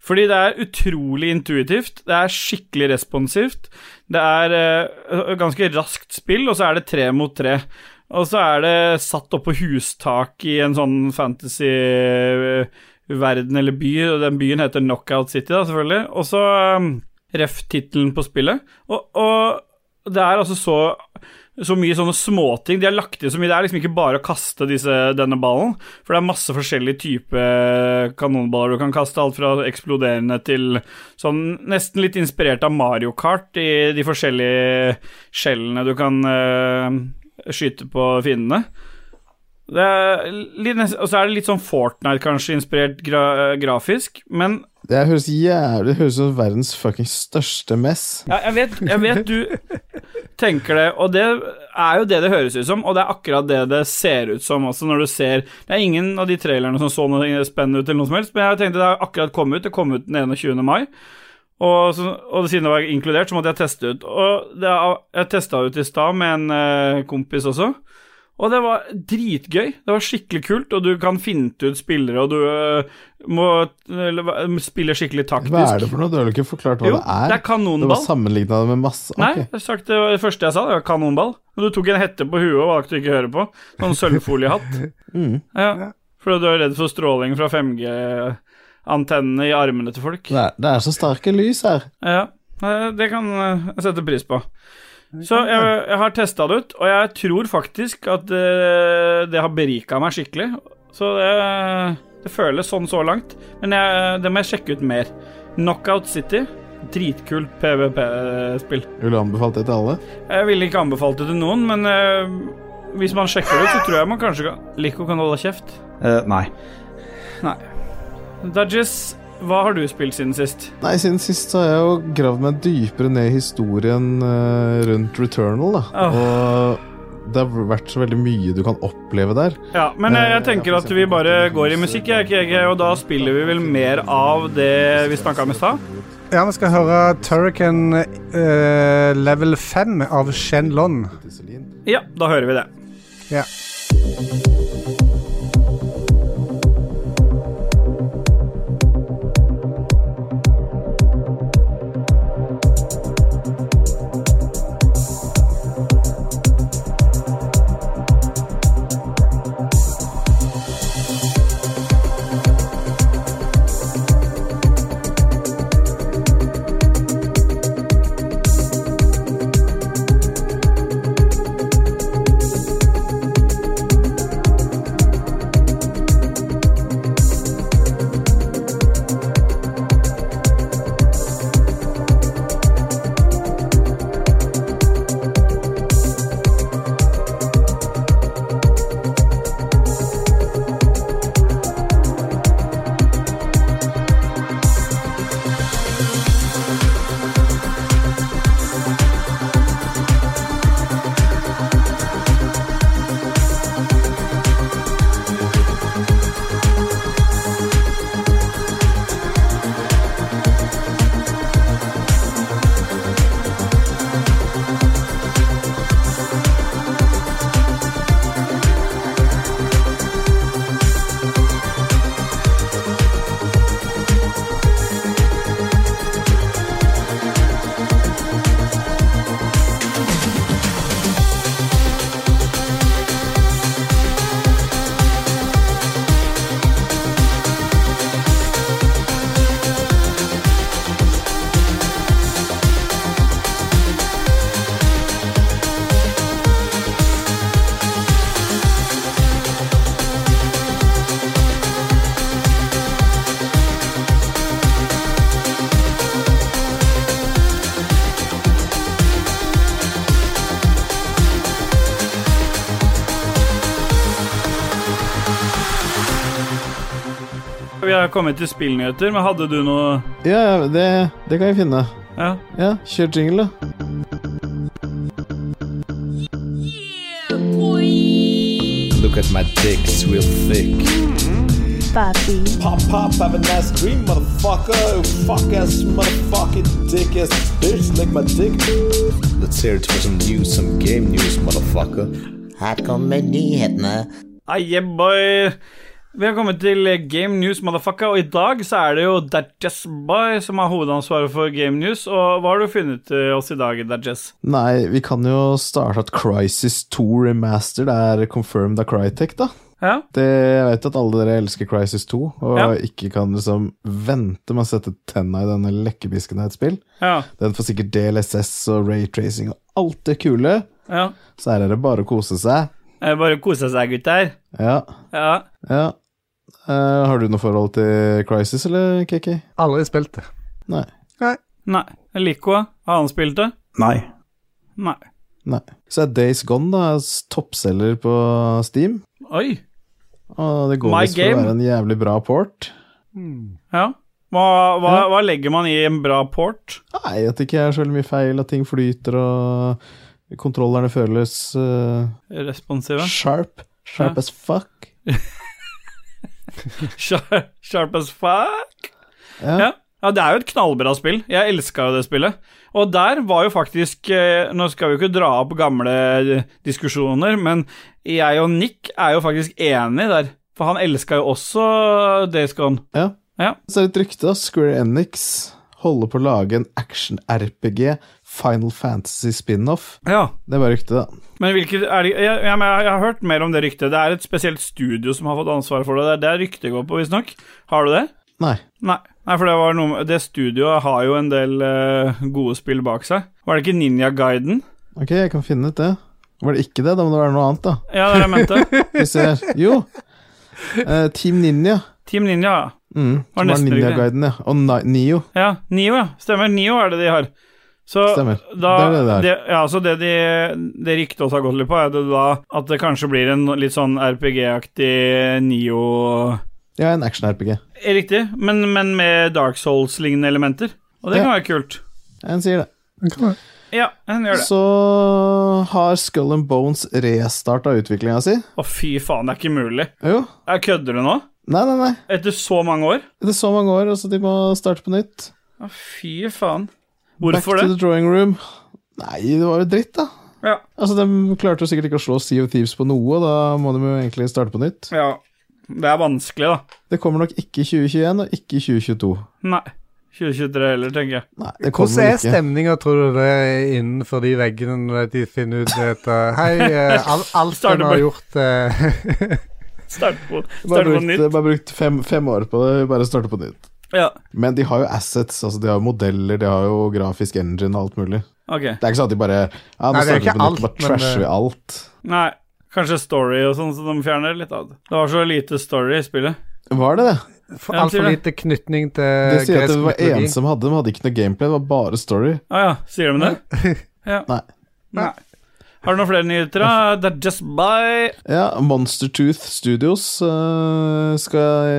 Fordi det er utrolig intuitivt. Det er skikkelig responsivt. Det er eh, ganske raskt spill, og så er det tre mot tre. Og så er det satt opp på hustak i en sånn fantasy-verden eller by, og den byen heter Knockout City, da, selvfølgelig. Og så um, ref tittelen på spillet. Og, og det er altså så så mye sånne småting. De har lagt i så mye. Det er liksom ikke bare å kaste disse, denne ballen, for det er masse forskjellige typer kanonballer du kan kaste. Alt fra eksploderende til sånn nesten litt inspirert av Mario Kart i de forskjellige skjellene du kan eh, skyte på fiendene. Det er litt, nesten- og så er det litt sånn Fortnite, kanskje, inspirert gra eh, grafisk, men
Det høres jævlig Det høres ut som verdens fuckings største mess.
Ja, jeg vet, jeg vet du tenker det, og det er jo det det høres ut som, og det er akkurat det det ser ut som også, når du ser Det er ingen av de trailerne som så noe spennende ut eller noe som helst, men jeg tenkte det har akkurat kommet ut. Det kom ut den 21. mai. Og, så, og siden det var inkludert, så måtte jeg teste ut. Og det, har- jeg testa ut i stad med en eh, kompis også. Og det var dritgøy. Det var skikkelig kult, og du kan finte ut spillere, og du øh, må eller, hva- spille skikkelig taktisk.
Hva er det for noe? Du har jo ikke forklart hva
Jo,
det er.
det er kanonball.
Det var sammenligna med masse
Nei,
Ok.
jeg har sagt det, det første jeg sa, det var kanonball. Men du tok en hette på huet og valgte å ikke høre på. Sånn sølvfoliehatt.
Mm.
Ja. Fordi du er redd for stråling fra 5G-antennene i armene til folk.
Det, er, det er så sterke lys her.
Ja, eh, det kan eh, jeg sette pris på. Så jeg, jeg har testa det ut, og jeg tror faktisk at eh, det har berika meg skikkelig. Så det, det føles sånn så langt, men jeg, det må jeg sjekke ut mer. Knockout City, dritkult PVP-spill.
Ville du anbefalt det til alle?
Jeg ville ikke anbefalt det til noen, men eh, hvis man sjekker det ut, så tror jeg man kanskje kan Lico kan holde kjeft.
Eh, nei.
Dudges, hva har du spilt siden sist?
Nei, siden sist så har jeg jo gravd meg dypere ned i historien eh, rundt Returnal, da.
Åh.
Og det har vært så veldig mye du kan oppleve der.
Ja, men eh, jeg tenker at vi bare går i musikk, jeg, KG, og da spiller vi vel mer av det vi snakka om i stad.
Ja, vi skal høre Turrican eh, level 5 av Shenlon.
Ja, da hører vi det.
Ja.
Vi har kommet til spillnyheter, men hadde du noe
Ja, det, det kan jeg finne.
Ja.
Ja, kjør jingle, da.
Papi.
Her kommer nyhetene.
Nei, yeah, boy. Vi har kommet til Game News, motherfucker, og i dag så er det jo Dajess Boy som har hovedansvaret for Game News. Og hva har du funnet til oss i dag, Dajess?
Nei, vi kan jo starte at Crisis 2 Remastered er confirmed av Crytek, da.
Ja?
Det, jeg vet at alle dere elsker Crisis 2, og
Ja.
ikke kan liksom vente med å sette tenna i denne lekkerbisken av et spill.
Ja.
Den får sikkert DLSS og raytracing og alt det kule.
ja.
Så her er det bare å kose seg.
Eh, Bare kose seg, gutter.
Ja,
Ja.
ja. Eh, har du noe forhold til Crisis, eller, KK?
Aldri spilt det.
Nei.
Nei. Lico, har han spilt det?
Nei.
Nei.
Nei. Så er Days Gone da toppselger på Steam,
Oi.
og det går
My
visst for å
game.
være en jævlig bra port.
Ja. Hva, hva, hva legger man i en bra port?
Nei, at det ikke er så veldig mye feil, at ting flyter og kontrollerne føles eh,
Responsive.
sharp. Sharp
Ja.
as fuck.
Sharp, sharp as fuck.
Ja.
Ja. Ja, Det er jo et knallbra spill. Jeg elska jo det spillet. Og der var jo faktisk eh, Nå skal vi jo ikke dra opp gamle eh, diskusjoner, men jeg og Nick er jo faktisk enige der. For han elska jo også Days Gone.
Ja.
Ja.
Så er det et rykte at Square Enix holder på å lage en action-RPG, Final Fantasy spin-off.
Ja.
Det var ryktet, da.
Men hvilket er det, jeg, jeg, men jeg, jeg har hørt mer om det ryktet. Det er et spesielt studio som har fått ansvaret for det. Det er der ryktet går på, visstnok. Har du det?
Nei.
Nei. Nei, for det var noe med Det studioet har jo en del eh, gode spill bak seg. Var det ikke Ninja Guiden?
Ok, jeg kan finne ut det. Var det ikke det? Da må det være noe annet, da.
Ja, det er det jeg mente.
Vi ser. Jo! Eh, Team Ninja.
Team Ninja.
Mm.
Var
Var
nesten riktig.
Ninja-guiden, ja. Og Ni- Nio.
Ja, Nio, ja. Stemmer. Nio er det de har. Så
Stemmer.
Da,
det er det det er.
ja, så det de, det ryktet også har gått litt på, er det da at det kanskje blir en litt sånn RPG-aktig Nio
Ja, en action-RPG.
Eh, Riktig, men, men med Dark Souls-lignende elementer. Og det
Ja.
kan være kult.
En sier det.
Ja, den gjør det.
Så har Skull and Bones restarta utviklinga si.
Å, fy faen, det er ikke mulig.
Jo.
Jeg kødder du nå?
Nei, nei, nei.
Etter så mange år?
Etter så mange år, altså, de må starte på nytt.
Å, fy faen.
Back
Hvorfor
to
det?
the drawing room. Nei, det var jo dritt, da.
Ja.
Altså, De klarte jo sikkert ikke å slå Sea of Thieves på noe, og da må de jo egentlig starte på nytt.
ja. Det er vanskelig, da.
Det kommer nok ikke i 2021, og ikke i 2022.
Nei. 2023 heller, tenker jeg.
Nei, det kommer
Hvordan er
vel ikke.
stemninga, tror du, det er innenfor de veggene når de finner ut det at eh, Hei, eh, al alt
Starter
en har
på-
gjort eh,
Start på,
Bare
start på
brukt,
nytt.
bare brukt fem, fem år på det, bare starte på nytt.
Ja,
Men de har jo assets, altså de har jo modeller, de har jo grafisk engine og alt mulig.
ok.
Det er ikke sånn at de bare ja, nå
Nei, det
starter
er
vi
ikke
på
alt,
nytt, bare
men,
trasher vi
eh,
alt.
Nei. Kanskje story og sånn, så de fjerner litt av det. Det var så lite story i spillet.
Var det det?
Ja,
Altfor
sier
lite knytning
De
til
sier at
eh, gresk
det var en
mytologi.
som hadde, de hadde ikke noe gameplay, det var bare story.
Å ja, sier de det? Ja.
Nei.
Nei. Har du noen flere nyheter, da? That's just by
Ja, Monster Tooth Studios eh, skal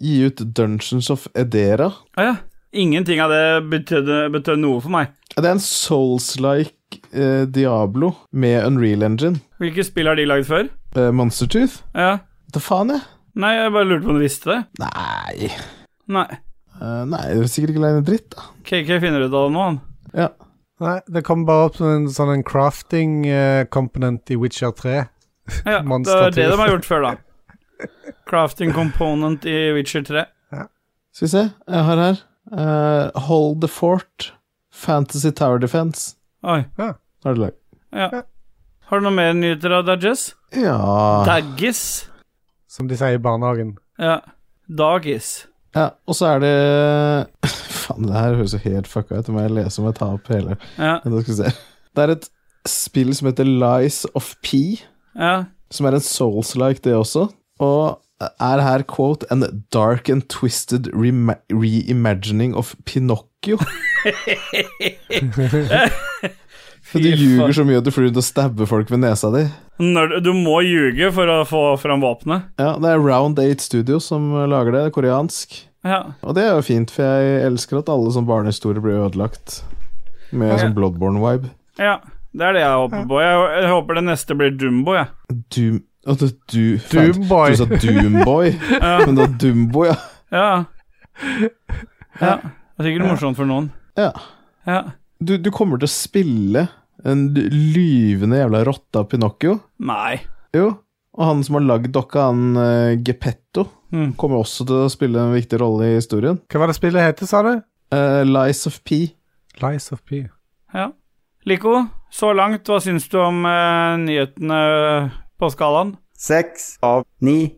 gi ut Dungeons of Edera.
Å ja. Ingenting av det betød, betød noe for meg.
Det er en souls-like eh, Diablo med Unreal Engine.
Hvilke spill har de lagd før?
Eh, Monster Tooth?
Ja.
Hva faen, jeg?
Nei, jeg bare lurte på om du visste det.
Nei
Nei.
Eh, Nei, det er sikkert ikke lenge dritt, da.
KK finner ut av det nå, han.
Ja.
Nei, det kom bare opp som en sånn en crafting eh, component i Witcher 3.
Ja, det
Monster
er det de
Tooth.
har gjort før, da. Crafting component i Witcher 3.
Skal vi se, jeg har her eh, Hold the Fort, Fantasy Tower Defense.
Oi.
Har du lagd?
Ja. Har du noe mer nyheter av Dagis?
Ja.
Daggis.
Som de sier i barnehagen.
Ja. Dagis.
ja. Og så er det Faen, det her høres jo helt fucka ut. Det må jeg lese om jeg tar opp hele.
Ja.
Men da skal vi se. Det er et spill som heter Lies of P,
ja.
som er en souls-like, det også. Og er her, quote, en dark and twisted rema- reimagining of Pinocchio. For du
Fy
ljuger
faen.
så mye at du flyr rundt og stabber folk med nesa di.
Når, du må ljuge for å få fram våpenet.
Ja, Det er Round 8 Studio som lager det, det er koreansk.
Ja.
Og det er jo fint, for jeg elsker at alle sånne barnehistorier blir ødelagt. Med sånn Bloodborne-vibe.
ja. Det er det jeg håper på. Jeg, jeg håper det neste blir Jumbo, jeg.
Doom... Å, du, du, fan,
Doomboy.
Du sa Doomboy, men det var Dumbo, ja.
Ja. ja. Det er sikkert morsomt for noen.
ja.
Ja.
Du, du kommer til å spille en lyvende jævla rotte av Pinocchio.
Nei.
Jo. Og han som har lagd dokka, han eh, Geppetto,
Mm.
kommer også til å spille en viktig rolle i historien.
Hva var det spillet heter, sa du?
Eh, Lies of P.
Lies of P.
Ja. Lico, så langt, hva syns du om eh, nyhetene på skalaen?
Seks av ni.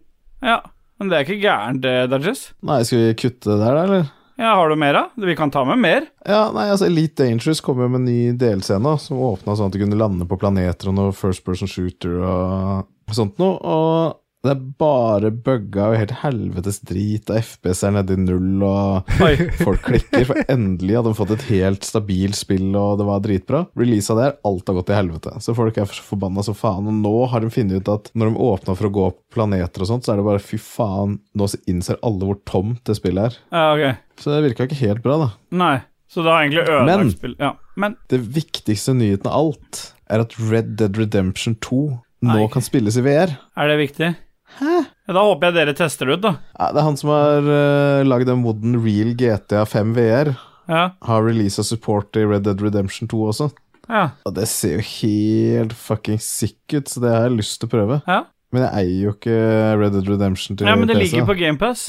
Ja, men det er ikke gærent, det, Dodges.
Nei, skal vi kutte det der, da, eller?
Ja, har du mer, da? Vi kan ta med mer.
Ja, nei, altså Elite Dangerous kom jo med en ny delscene som åpna sånn at du kunne lande på planeter og noe First Person Shooter og sånt noe. Og det er bare bugga og helt helvetes drit, og FPS er nede i null, og
Oi.
folk klikker. For endelig hadde de fått et helt stabilt spill, og det var dritbra. Releasa der, alt har gått til helvete. Så folk er forbanna som faen. Og nå har de funnet ut at når de åpna for å gå opp planeter og sånt, så er det bare fy faen, nå innser alle hvor tomt det spillet er.
Ja, ok.
Så det virka ikke helt bra, da.
Nei. Så det har egentlig
Men-
ødelagt spill... Ja. Men
Det viktigste nyheten av alt er at Red Dead Redemption 2 nå
Nei.
kan spilles i VR.
er det viktig? Ja, Da håper jeg dere tester det ut, da.
Ja, det er han som har uh, lagd en Wooden Real GTA 5 VR.
Ja.
Har releasa support i Red Dead Redemption 2 også.
ja.
Og det ser jo helt fucking sick ut, så det har jeg lyst til å prøve.
Ja.
Men jeg eier jo ikke Red Dead Redemption til
ja men det
PC,
ligger
da.
på GamePass.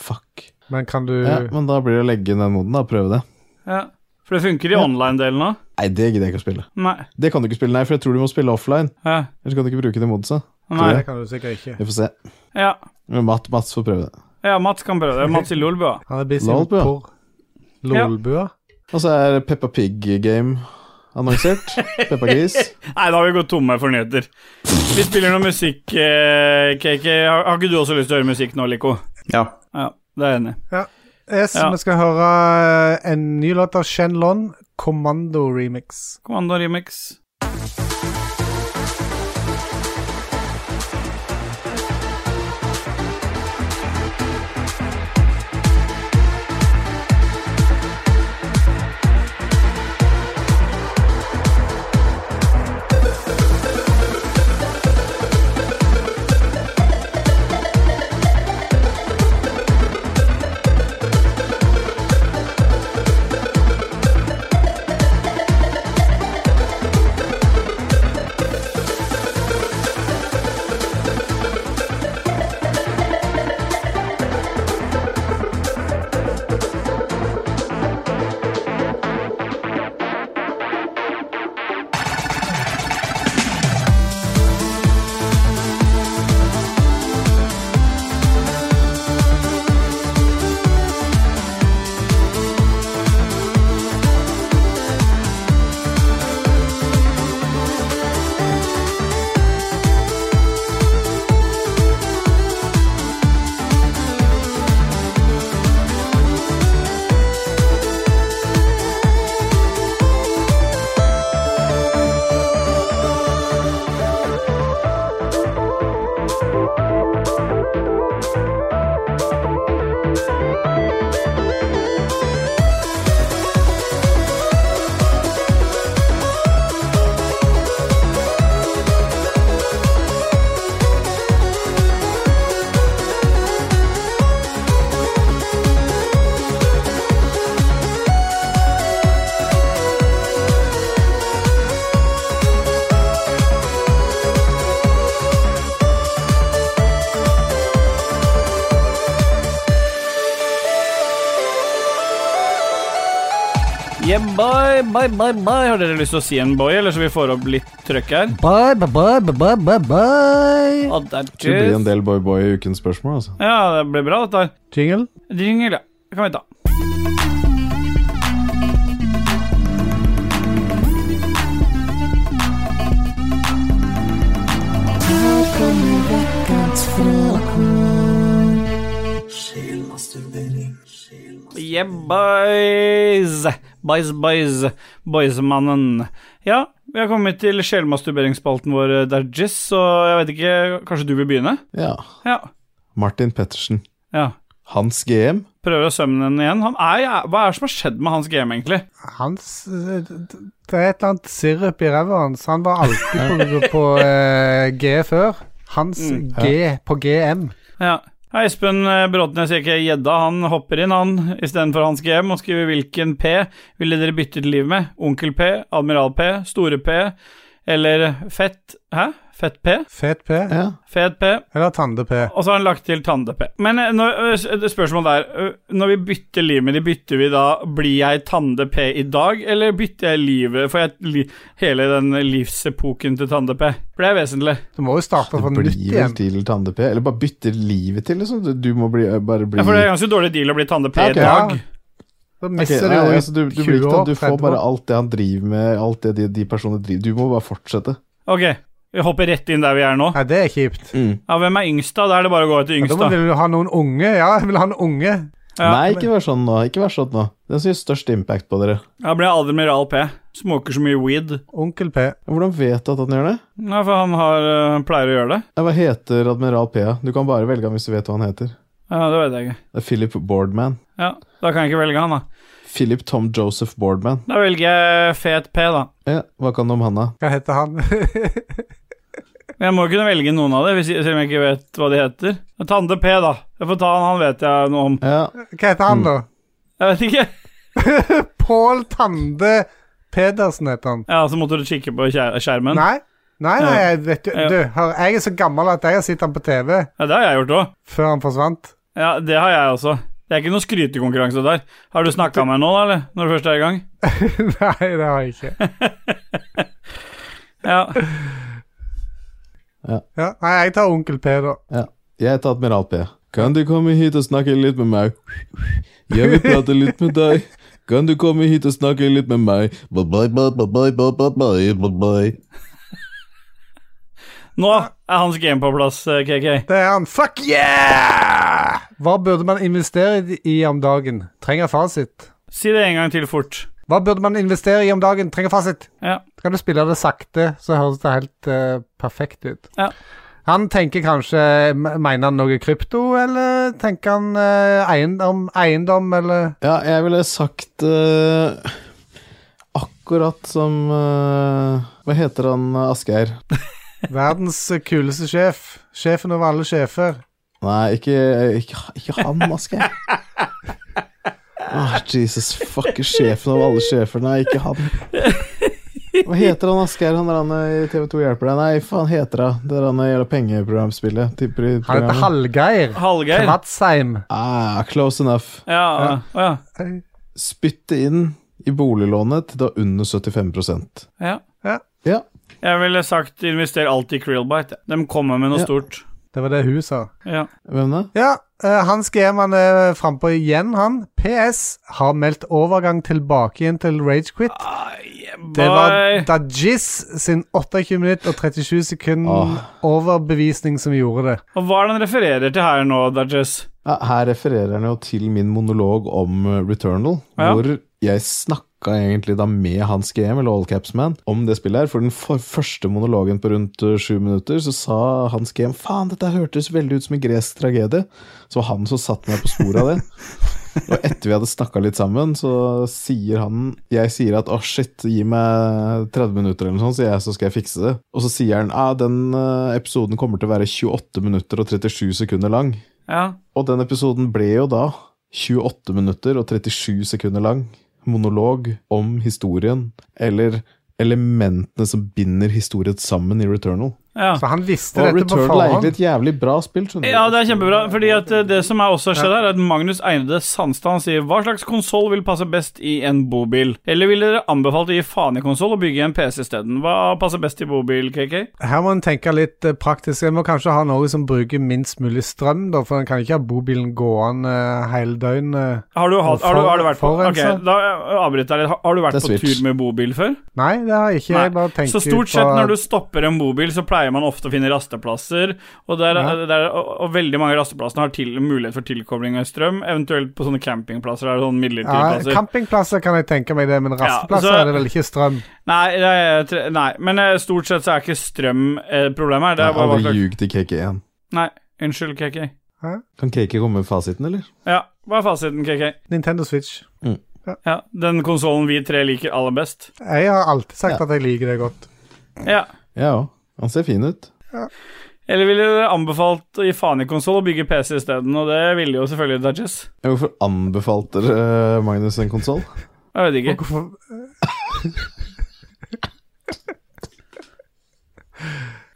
Fuck.
Men kan du
Ja, men da blir det å legge inn den moden, da. og Prøve det.
Ja. For det funker i online-delen òg.
Nei, det gidder jeg ikke å spille.
Nei.
Det kan du ikke spille, nei, for jeg tror du må spille offline.
Ja.
Ellers kan du ikke bruke det moduset.
Nei.
Det kan du sikkert ikke.
Vi får se.
Ja.
Men Matt, Mats får prøve det.
ja, Mats kan prøve det. Mats i Lolbua.
Han er busy med
Lolbua.
porr. Lolbua?
Og så er Peppa Pig Game annonsert. Peppa Gris.
Nei, da har vi gått tomme for nyheter. Vi spiller noe musikk, eh, KK. Har, har ikke du også lyst til å høre musikk nå, Lico?
Ja.
Ja, det er jeg enig. i.
Yes,
Ja.
vi skal høre eh, en ny låt av Shenlon, Commando Remix.
Kommando remix. Yeah, bye, bye, bye, bye. Har dere lyst til å si en boy, eller så vi får opp litt trøkk her?
Bye, bye, bye, bye, bye, bye, bye.
Å, det er
Det blir
tøft.
en del boy-boy i ukens spørsmål, altså.
Ja, det blir bra, dette her.
Jingle?
Jingle, ja. Det kan vi ta. Yeah, boys. Boys, boys. Boysmannen. Ja, vi har kommet til sjelmasturberingsspalten vår, eh, der Jizz, så jeg vet ikke Kanskje du vil begynne?
Ja.
Ja.
Martin Pettersen.
ja.
Hans GM.
Prøver å sømme den igjen. Han er, er- hva er det som har skjedd med hans game, egentlig?
Hans eh, d- Det er et eller annet sirup i ræva hans. Han var alltid på, på eh, G før. Hans G på GM.
Ja. Ja, Espen eh, Bråtnes sier ikke gjedda, han hopper inn, han, istedenfor hans GM, og skriver hvilken P ville dere byttet liv med? Onkel P, Admiral P, Store P eller Fett Hæ? Fett P?
Fet P
Ja.
Fet P?
eller Tande-P?
Og så har han lagt til Tande-P. Men eh, når, eh, s- eh, spørsmålet er eh, Når vi bytter livet med de, bytter vi da Blir jeg Tande-P i dag, eller bytter jeg livet Får jeg li, hele den livsepoken til Tande-P? For det er vesentlig.
Du må jo starte fra
Det
nytt
blir vel
igjen.
til Tande-P. Eller bare bytte livet til, liksom. Du, du må bli, bare bli
Ja, for det er ganske dårlig deal å bli Tande-P i
Ok, ja.
dag.
Da
Ok,
mister
nei,
du jo
altså, du, du, blir
20
ikke,
år.
du får
30
bare
år.
alt det han driver med, alt det de, de personene driver Du må bare fortsette.
Ok, vi hopper rett inn der vi er nå.
Nei, det er kjipt.
Ja, Hvem er yngst, da? Da er det bare å gå etter
Ja,
yngst,
da må-
da.
vil du ha noen unge. Ja, jeg vil ha en unge.
Ja.
Nei, ikke vær sånn nå. Ikke vær sånn nå. Den som gjør størst impact på dere.
Da blir jeg Admiral P. Smoker så mye weed.
Onkel P.
Hvordan vet du at han gjør det?
Ja, for han har, øh, pleier å gjøre det.
Ja, Hva heter Admiral P? Du kan bare velge han hvis du vet hva han heter.
Ja, Det vet jeg ikke.
Det er Philip Boardman.
Ja, Da kan jeg ikke velge han, da.
Philip Tom Joseph Boardman.
Da velger jeg Fet P, da.
Ja, hva kan du om han, da?
Hva heter han?
Men jeg må jo kunne velge noen av det, hvis jeg, selv om jeg ikke vet hva de heter. Tande P, da. Jeg får ta han, han vet jeg noe om.
Ja.
Hva heter han, da?
Jeg vet ikke.
Pål Tande Pedersen heter han.
Ja, så måtte du kikke på skjer- skjermen.
Nei? Nei, nei, jeg vet jo
Ja.
Du, hør, jeg er så gammel at jeg har sett han på TV
Ja, det har jeg gjort òg.
før han forsvant.
Ja, det har jeg også. Det er ikke noe skrytekonkurranse der. Har du snakka med nå, da, eller? Når du først er i gang?
nei, det har jeg ikke.
Ja.
Ja, nei, jeg tar Onkel P, da.
Jeg heter Admiral P. Kan du komme hit og snakke litt med meg? Jeg vil prate litt med deg. Kan du komme hit og snakke litt med meg? Bye, bye, bye, bye, bye, bye, bye, bye, bye, bye.
Nå er hans game på plass, eh, KK.
Det er han. Fuck yeah! Hva burde man investere i om dagen? Trenger fasit.
Si det en gang til fort.
Hva burde man investere i om dagen? Trenger fasit.
Ja.
Kan du spille det sakte, så høres det helt eh, perfekt ut.
Ja.
Han tenker kanskje m- Mener han noe krypto, eller tenker han eh, eiendom, eiendom, eller
Ja, jeg ville sagt eh, akkurat som eh, Hva heter han eh, Asgeir?
verdens kuleste sjef? Sjefen over alle sjefer.
Nei, ikke, ikke, ikke han, Asgeir. Åh, Jesus fucker sjefen av alle sjefer. Nei, ikke han. Hva heter han Asgeir, han der han eh, i TV2 hjelper deg? Nei, faen heter han Det der han gjelder pengeprogramspillet. til pri-
Han heter
programmet.
Hallgeir
Hallgeir.
Kvatsheim.
Ah, close enough.
Ja, ja. Å, ja.
Spytte inn i boliglånet til det var under 75
ja.
Ja.
Jeg ville sagt invester alltid i Krillbite. ja. De kommer med noe
Ja.
stort.
Det var det hun sa.
Ja.
Hvem da?
Ja, eh, han skrev han uh, frampå igjen, han. PS har meldt overgang tilbake igjen til Ragequit.
Ah,
Det var Dajis sin 28 minutt og 37 sekund
Åh.
overbevisning som gjorde det.
Og hva er det han refererer til her nå, Dodges?
Ja, her refererer han jo til min monolog om eh, Returnal,
Ja.
hvor jeg snakka egentlig da med Hans GM, eller All Caps Man, om det spillet her. For den for første monologen på rundt eh, sju minutter, så sa Hans GM faen, dette hørtes veldig ut som en gresk tragedie. Så var han som satte meg på sporet av det. Og etter vi hadde snakka litt sammen, så sier han Jeg sier at 'å, shit, gi meg 30 minutter', eller noe sånt, sier jeg, så skal jeg fikse det. Og så sier han ah, 'den eh, episoden kommer til å være 28 minutter og 37 sekunder lang'.
Ja.
Og den episoden ble jo da 28 minutter og 37 sekunder lang monolog om historien, eller elementene som binder historien sammen i Returnal.
ja.
Så han visste
Og
dette på
Returnal er egentlig
forhånd.
et jævlig bra spill, skjønner du.
Ja, det er kjempebra. Fordi at eh, det som er også har skjedd her, er at Magnus Einede Sandstad han sier Hva slags konsoll vil passe best i en bobil? Eller ville dere anbefalt å gi faen i konsoll og bygge en PC isteden? Hva passer best i bobil, KK?
Her må en tenke litt eh, praktisk. En må kanskje ha noe som bruker minst mulig strøm, da, for en kan ikke ha bobilen gående eh, hele døgnet.
Har du, hatt, har du, har du vært på
For-
Ok,
forurensa.
da eh, avbryter jeg litt. Har- Har du vært
Det er
på
Switch.
tur med bobil før?
Nei, det har jeg ikke.
Nei,
Jeg bare tenker
Så stort sett når du stopper en bobil, så pleier man ofte å finne rasteplasser, og, der, eh,
Ja.
der, og, og veldig mange av rasteplassene har til, mulighet for tilkobling av strøm, eventuelt på sånne campingplasser, der, sånne midlertidige
ja,
plasser.
Campingplasser kan jeg tenke meg det, men rasteplasser
så-
er det vel ikke strøm.
Nei, det er, tre- nei, men eh, stort sett så er ikke strøm eh, problemet her. Det
Jeg
er
har
bare hva
aldri
slags
ljug til KK1.
Nei, unnskyld, KK.
Kan KK komme med fasiten, eller?
Ja, hva er fasiten, KK?
Nintendo Switch.
Ja, Den konsollen vi tre liker aller best.
Jeg har alltid sagt at jeg liker det godt.
Ja.
Ja òg. Han ser fin ut.
Eller ville dere anbefalt å gi faen i konsoll og bygge PC isteden? Og det ville jo selvfølgelig Dudges.
Ja, Hvorfor anbefalte dere eh, Magnus en konsoll?
Jeg vet ikke.
Hvorfor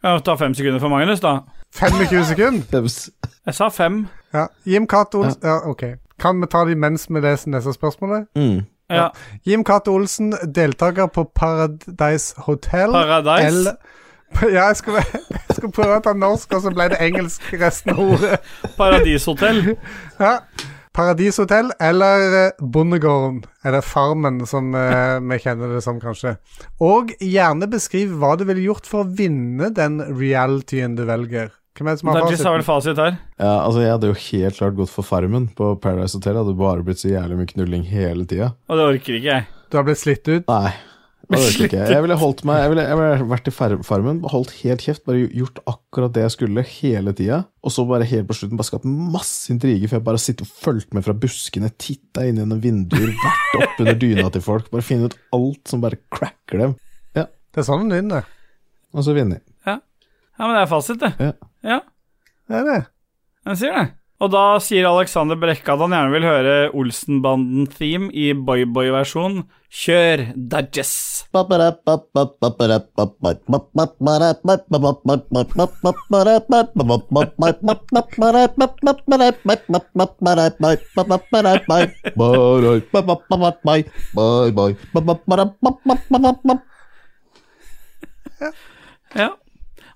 Ja, Ta fem sekunder for Magnus, da.
25 sekunder?
Nei,
Jeg sa fem.
Ja. Jim Cato Olsen ja. OK. Kan vi ta de mens vi leser neste spørsmålet?
Mm.
Ja.
Jim Cato Olsen, deltaker på Paradise Hotel.
Paradise.
Eller- Ja, jeg skulle, jeg skulle prøve å ta norsk, og så ble det engelsk resten av ordet.
Paradishotell.
Ja. Paradishotell eller eh, Bondegården, eller Farmen, som eh, vi kjenner det som, kanskje. Og gjerne beskriv hva du ville gjort for å vinne den realityen du velger. Hvem er det som har
Dudges har
fasiten?
vel fasit her.
Ja, altså Jeg hadde jo helt klart gått for Farmen på Paradise Hotel. Hadde bare blitt så jævlig mye knulling hele tida.
Og det orker ikke jeg.
Du har blitt slitt ut.
Nei. Det orker ikke. Jeg. jeg ville holdt meg Jeg ville, jeg ville vært i far- Farmen, holdt helt kjeft, bare gjort akkurat det jeg skulle hele tida. Og så bare helt på slutten bare skapt masse intriger, for jeg bare sitter og fulgte med fra buskene, titta inn gjennom vinduer, vært oppunder dyna til folk, bare finne ut alt som bare cracker dem.
Det er sånn hun vinner.
Og så vinner jeg.
Ja, men det er fasit, det.
Ja.
Ja,
Det er det.
den sier det. Og da sier Alexander Brekke at han gjerne vil høre Olsenbanden-theme i boyboy-versjon. Kjør Dudges. Ja.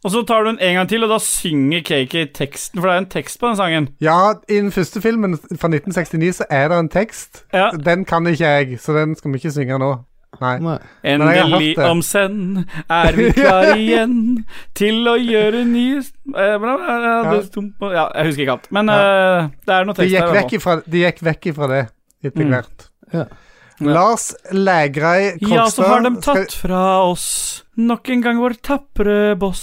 Og så tar du den en gang til, og da synger KK teksten, for det er en tekst på den sangen.
Ja, i den første filmen fra 1969 så er det en tekst.
Ja.
Den kan ikke jeg, så den skal vi ikke synge nå. Nei.
Nei.
Men jeg har
Endelig
hørt det.
om senn er vi klar igjen til å gjøre nye eh, bla, bla, bla,
Ja.
det er tomt på- Ja, jeg husker ikke alt, men eh, det er noe
De
tekst
gikk
der. i hvert
vekk ifra, de gikk vekk ifra det etter
Mm.
hvert.
Ja.
Lars Lægrei Krogstad
Ja, så har de tatt
skal-
fra oss nok en gang vår tapre boss.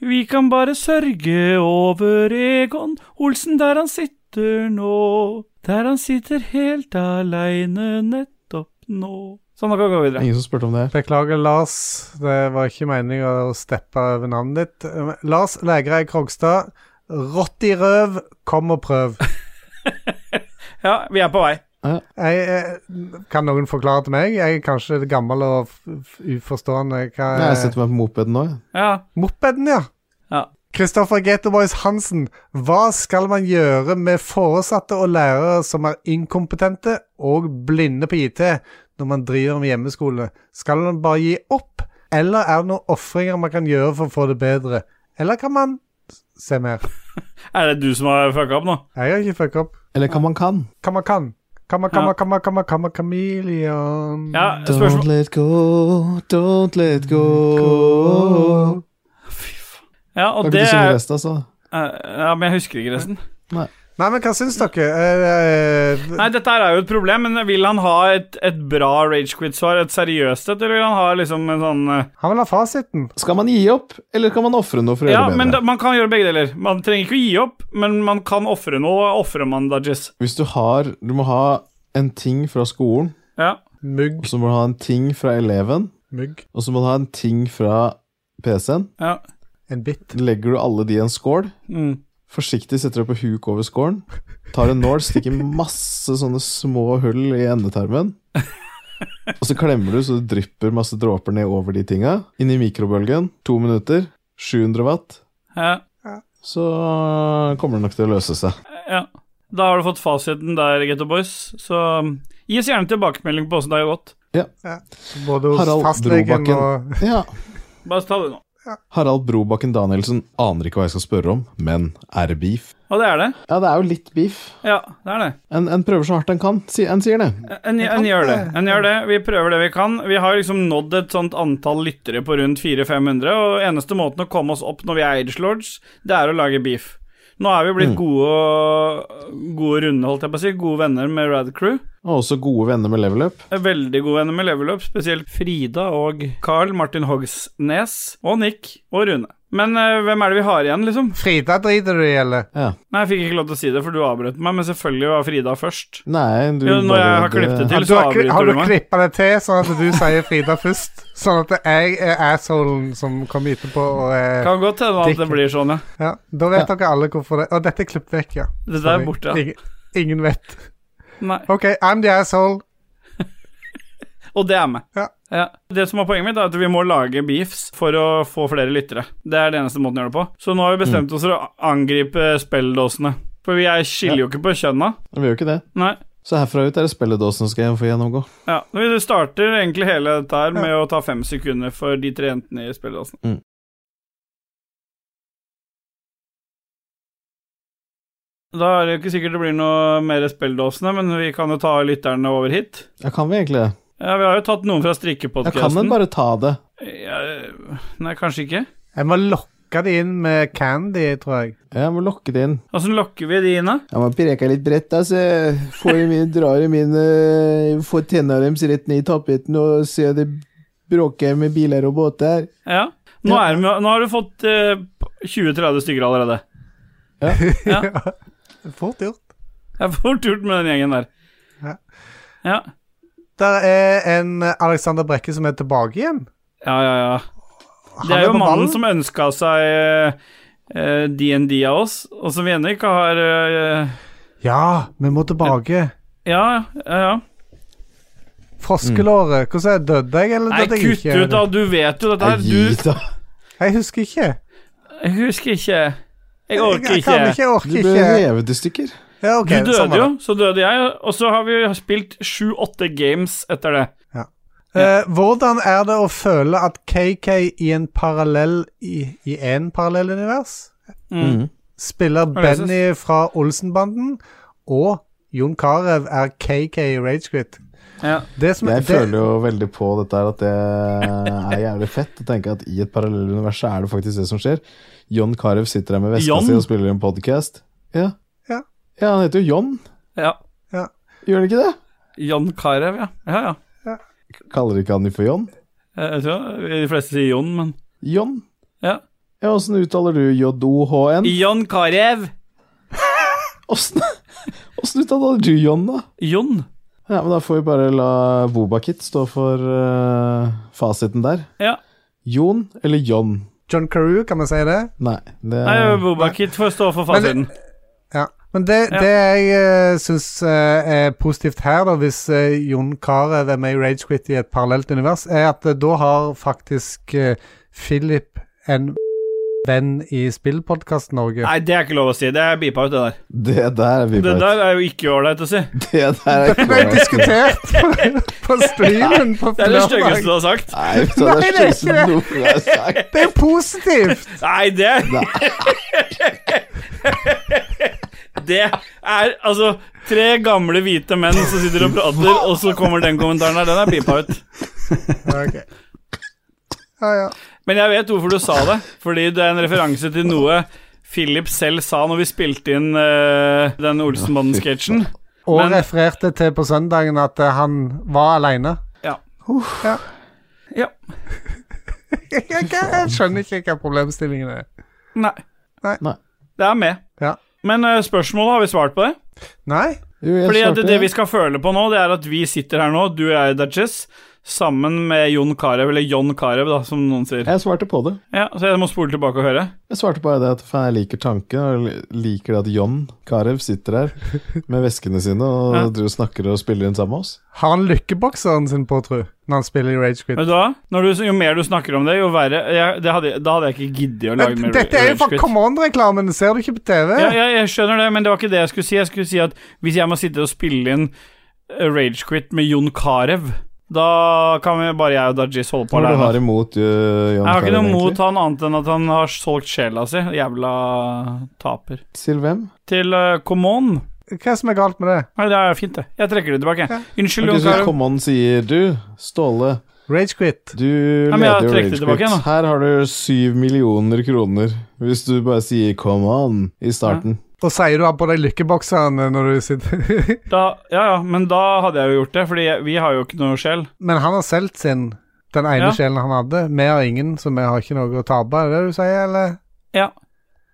Vi kan bare sørge over Egon Olsen der han sitter nå. Der han sitter helt aleine nettopp nå. Sånn, da kan vi gå videre.
Ingen som spurte om det her.
Beklager, Lars. Det var ikke meninga å steppe over navnet ditt. Eh, Lars Lægrei Krogstad. Rått i røv, kom og prøv.
Ja, vi er på vei.
Jeg, eh, kan noen forklare til meg? Jeg er kanskje gammel og f f uforstående. Hva
Nei, Jeg setter meg på mopeden nå. jeg.
Ja.
Mopeden, ja.
Ja.
Kristoffer Getterboys Hansen, hva skal man gjøre med foresatte og lærere som er inkompetente og blinde på IT når man driver med hjemmeskole? Skal man bare gi opp, eller er det noen ofringer man kan gjøre for å få det bedre? Eller kan man Se mer.
Er det du som har fucka opp nå?
Jeg har ikke fucka opp.
Eller hva man kan.
Hva man kan. Hva man kan,
Ja.
hva man kan, hva man kan, hva man kameleon.
Ja,
Don't
spørsmål
let go, don't let go.
Ja, og
Kan ikke
det
du synge
er
resten, altså?
Eh, Ja, men jeg husker ikke resten.
Nei, men hva syns dere? Eh, eh,
Nei, dette her er jo et problem, men vil han ha et, et bra ragequit-svar, et seriøst et, eller vil han ha liksom en sånn eh,
han vil ha fasiten.
Skal man gi opp, eller kan man ofre noe for å
Ja,
gjøre det
men
bedre?
da, man kan gjøre begge deler. Man trenger ikke å gi opp, men man kan ofre noe. Ofrer man dodges.
Hvis du har Du må ha en ting fra skolen,
Ja.
Mugg.
og så må du ha en ting fra eleven,
Mugg.
og så må du ha en ting fra PC-en.
ja.
En bit.
Legger du alle de i en skål,
Mm.
forsiktig setter du på huk over skålen, tar en nål, stikker masse sånne små hull i endetarmen, og så klemmer du så det drypper masse dråper ned over de tinga, inn i mikrobølgen, to minutter, 700 watt,
Ja.
så kommer det nok til å løse seg.
ja. Da har du fått fasiten der, Getto Boys. Så um, gi oss gjerne tilbakemelding på åssen det har gått.
Både hos
Harald
fastlegen
Brobakken.
og
Ja.
Bare ta det nå.
Harald Brobakken Danielsen aner ikke hva jeg skal spørre om, men er det beef?
Og det er det.
Ja, det er jo litt beef.
Ja, det er det.
En, en prøver så hardt en kan, si, en sier det.
En, en gjør det. En gjør det. Vi prøver det vi kan. Vi har liksom nådd et sånt antall lyttere på rundt 400-500, og eneste måten å komme oss opp når vi er Age Lords, det er å lage beef. Nå er vi blitt gode, gode runde, holdt jeg på å si. Gode venner med Rad Crew.
Og også gode venner med level up.
Er Veldig gode venner med Level Up, spesielt Frida og Carl Martin Hogsnes og Nick og Rune. Men eh, hvem er det vi har igjen, liksom?
Frida driter du i, eller?
Ja.
Nei, jeg fikk ikke lov til å si det, for du avbrøt meg, men selvfølgelig var Frida først.
Nei, du
Jo, når jeg har klippet det til.
Har
Ellers
du, har,
avbryter
kli- har
du
du
meg.
klippa det til, sånn at du sier Frida først? Sånn at jeg er assholen som kommer etterpå og er
Kan godt hende at det
Dick.
blir sånn, ja.
ja, Da vet dere alle hvorfor det Og dette er klippet vekk, ja.
Dette
Sorry.
er borte, ja.
Ingen, ingen vet.
Nei.
OK, I'm the asshole.
Og det er meg.
Ja.
Det som er poenget mitt, er at vi må lage beefs for å få flere lyttere. Det er det eneste måten å gjøre det på. Så nå har vi bestemt oss for å angripe spelledåsene. For vi er- skiller jo ikke på kjønna.
Vi gjør jo ikke det.
Nei.
Så herfra ut er det spilledåsen skal jeg få gjennomgå.
Ja, Vi starter egentlig hele dette her med å ta fem sekunder for de tre jentene i spelledåsen.
Mm.
Da er det jo ikke sikkert det blir noe mer spelledåsene, men vi kan jo ta lytterne over hit.
Ja, kan vi egentlig det?
Ja, Vi har jo tatt noen fra
Ja, kan en
strikkepodkasten.
bare ta det?
Ja, nei, kanskje ikke.
Jeg må lokke det inn med candy, tror jeg.
Jeg må lokke det inn.
Åssen lokker vi de inn, da?
Jeg må preke litt bredt, da, så jeg får i min, drar i mine Får tenna deres rett ned i tapeten og ser det bråker med biler og båter.
Ja. Nå, er de, jo- nå har du fått eh, 20-30 stykker allerede.
Fort gjort.
Det er fort gjort med den gjengen der.
Ja.
Ja,
Der er en Alexander Brekke som er tilbake igjen.
ja, ja. ja.
han
Det er jo
på
mannen
ballen.
som ønska seg eh, DND av oss, og som vi ennå ikke har eh,
Ja, vi må tilbake.
Ja, ja, ja.
Froskelåret. Hvordan er det? Døde jeg, eller
Nei,
døde jeg
kutt
ikke?
ut, da. Du vet jo dette her.
Gi
Du
da.
Jeg husker ikke.
Jeg husker ikke. Jeg orker
Jeg kan
ikke.
ikke, jeg
Du
orker
ble
ikke.
revet i stykker.
Ja, ok,
Du døde
samme
jo,
det.
så døde jeg, og så har vi spilt sju-åtte games etter det.
Eh, hvordan er det å føle at KK i en parallell I i en parallell univers
Mm.
spiller
Ja, det synes-
Benny fra Olsenbanden, og Jon Carew er KK i Ragequit?
Ja.
Det som
Jeg
det,
føler jo veldig på dette her at det er jævlig fett. Å tenke at i et parallellunivers så er det faktisk det som skjer. John Carew sitter der med veska
John?
si og spiller en podkast. Ja.
Ja.
ja, han heter jo John.
ja.
Gjør han ikke det?
Jan Carew, ja. Ja, ja.
Kaller ikke han de for John?
Jeg tror de fleste sier Jon, men
John?
Ja.
Ja, Åssen uttaler du J-O-H-N?
Jan Carew.
Åssen åssen uttaler du John, da?
Jon.
Ja, men Da får vi bare la Bobakit stå for eh, fasiten der.
Ja.
Jon eller John?
John Carew, kan vi si det?
Nei, det
Nei, Bobakit får stå for fasiten.
Ja. Men det,
Ja.
det jeg uh, syns er positivt her, da, hvis eh, Jon Carew er med i Ragequit i et parallelt univers, er at eh, da har faktisk eh, Philip en venn i Spillpodkast Norge.
Nei, det er ikke lov å si. Det er beepa ut, det der.
Det der er vi på
Det der er jo ikke ålreit å si.
Det der er
Det
ikke
ble
bra.
diskutert på, på streamen på
Det er det styggeste
lørdag.
du har sagt.
Nei, vet du hva, det
Nei,
er
det er
styggeste noen gang har sagt.
Det er positivt!
Nei, det Det er altså tre gamle hvite menn som sitter og prater, og så kommer den kommentaren her. Den er beepa ut.
Ja, ok. ja, ja.
Men jeg vet hvorfor du sa det. Fordi det er en referanse til noe Philip selv sa når vi spilte inn eh, den Olsenbanden-sketsjen.
Og
Men-
refererte til på søndagen at eh, han var aleine.
Ja.
Ja.
Ja.
Jeg, jeg, jeg skjønner ikke hva problemstillingen er.
Nei.
Nei.
Nei.
Det er med.
Ja.
Men eh, spørsmålet, har vi svart på det?
Nei?
Jo, jeg
Fordi at
svarte
det vi skal føle på nå, det er at vi sitter her nå, du og jeg, Dutchess, sammen med Jon Carew, eller John Carew, da, som noen sier.
Jeg svarte på det.
Ja, så jeg må spole tilbake og høre.
Jeg svarte bare det at faen, jeg liker tanken, og jeg liker det at John Carew sitter her med veskene sine og
Ja.
driver og snakker og spiller inn sammen med oss.
Har han lykkebokseren sin på, tru, når han spiller i Rage Quit?
Vet du hva? Når du, jo mer du snakker om det, jo verre jeg, det hadde, Da hadde jeg ikke giddet å lage
Men
mer
Eh, Dette er jo
Rage
for
Quit.
Come On-reklamen, ser du ikke på TV?
Ja, ja, jeg skjønner det, men det var ikke det jeg skulle si. Jeg skulle si at hvis jeg må sitte og spille inn Ragequit med Jon Carew, da kan vi bare jeg og Dajis holde på
Hva er det du
alene.
har imot uh, John
Jeg har ikke
Carew,
noe mot
egentlig?
han annet enn at han har solgt sjela si. Jævla taper.
Til hvem?
Til uh, Come On.
Hva er som er galt med det?
Nei, det er fint, det. Jeg trekker det tilbake.
Ja.
Unnskyld,
Ok,
Jon
så
Carew.
Come on sier du, Ståle,
Rage Quit.
du
men jeg
leder jo
trekker det tilbake
Ragequit.
igjen, da.
Her har du syv millioner kroner hvis du bare sier come on i starten.
Og sier du har på deg lykkebokseren eh, når du sitter
Da, ja, ja, men da hadde jeg jo gjort det, Fordi jeg, vi har jo ikke noe sjel.
Men han har solgt sin, den ene
Ja.
sjelen han hadde. Vi har ingen, så vi har ikke noe å tape. Er det det du sier, eller?
Ja.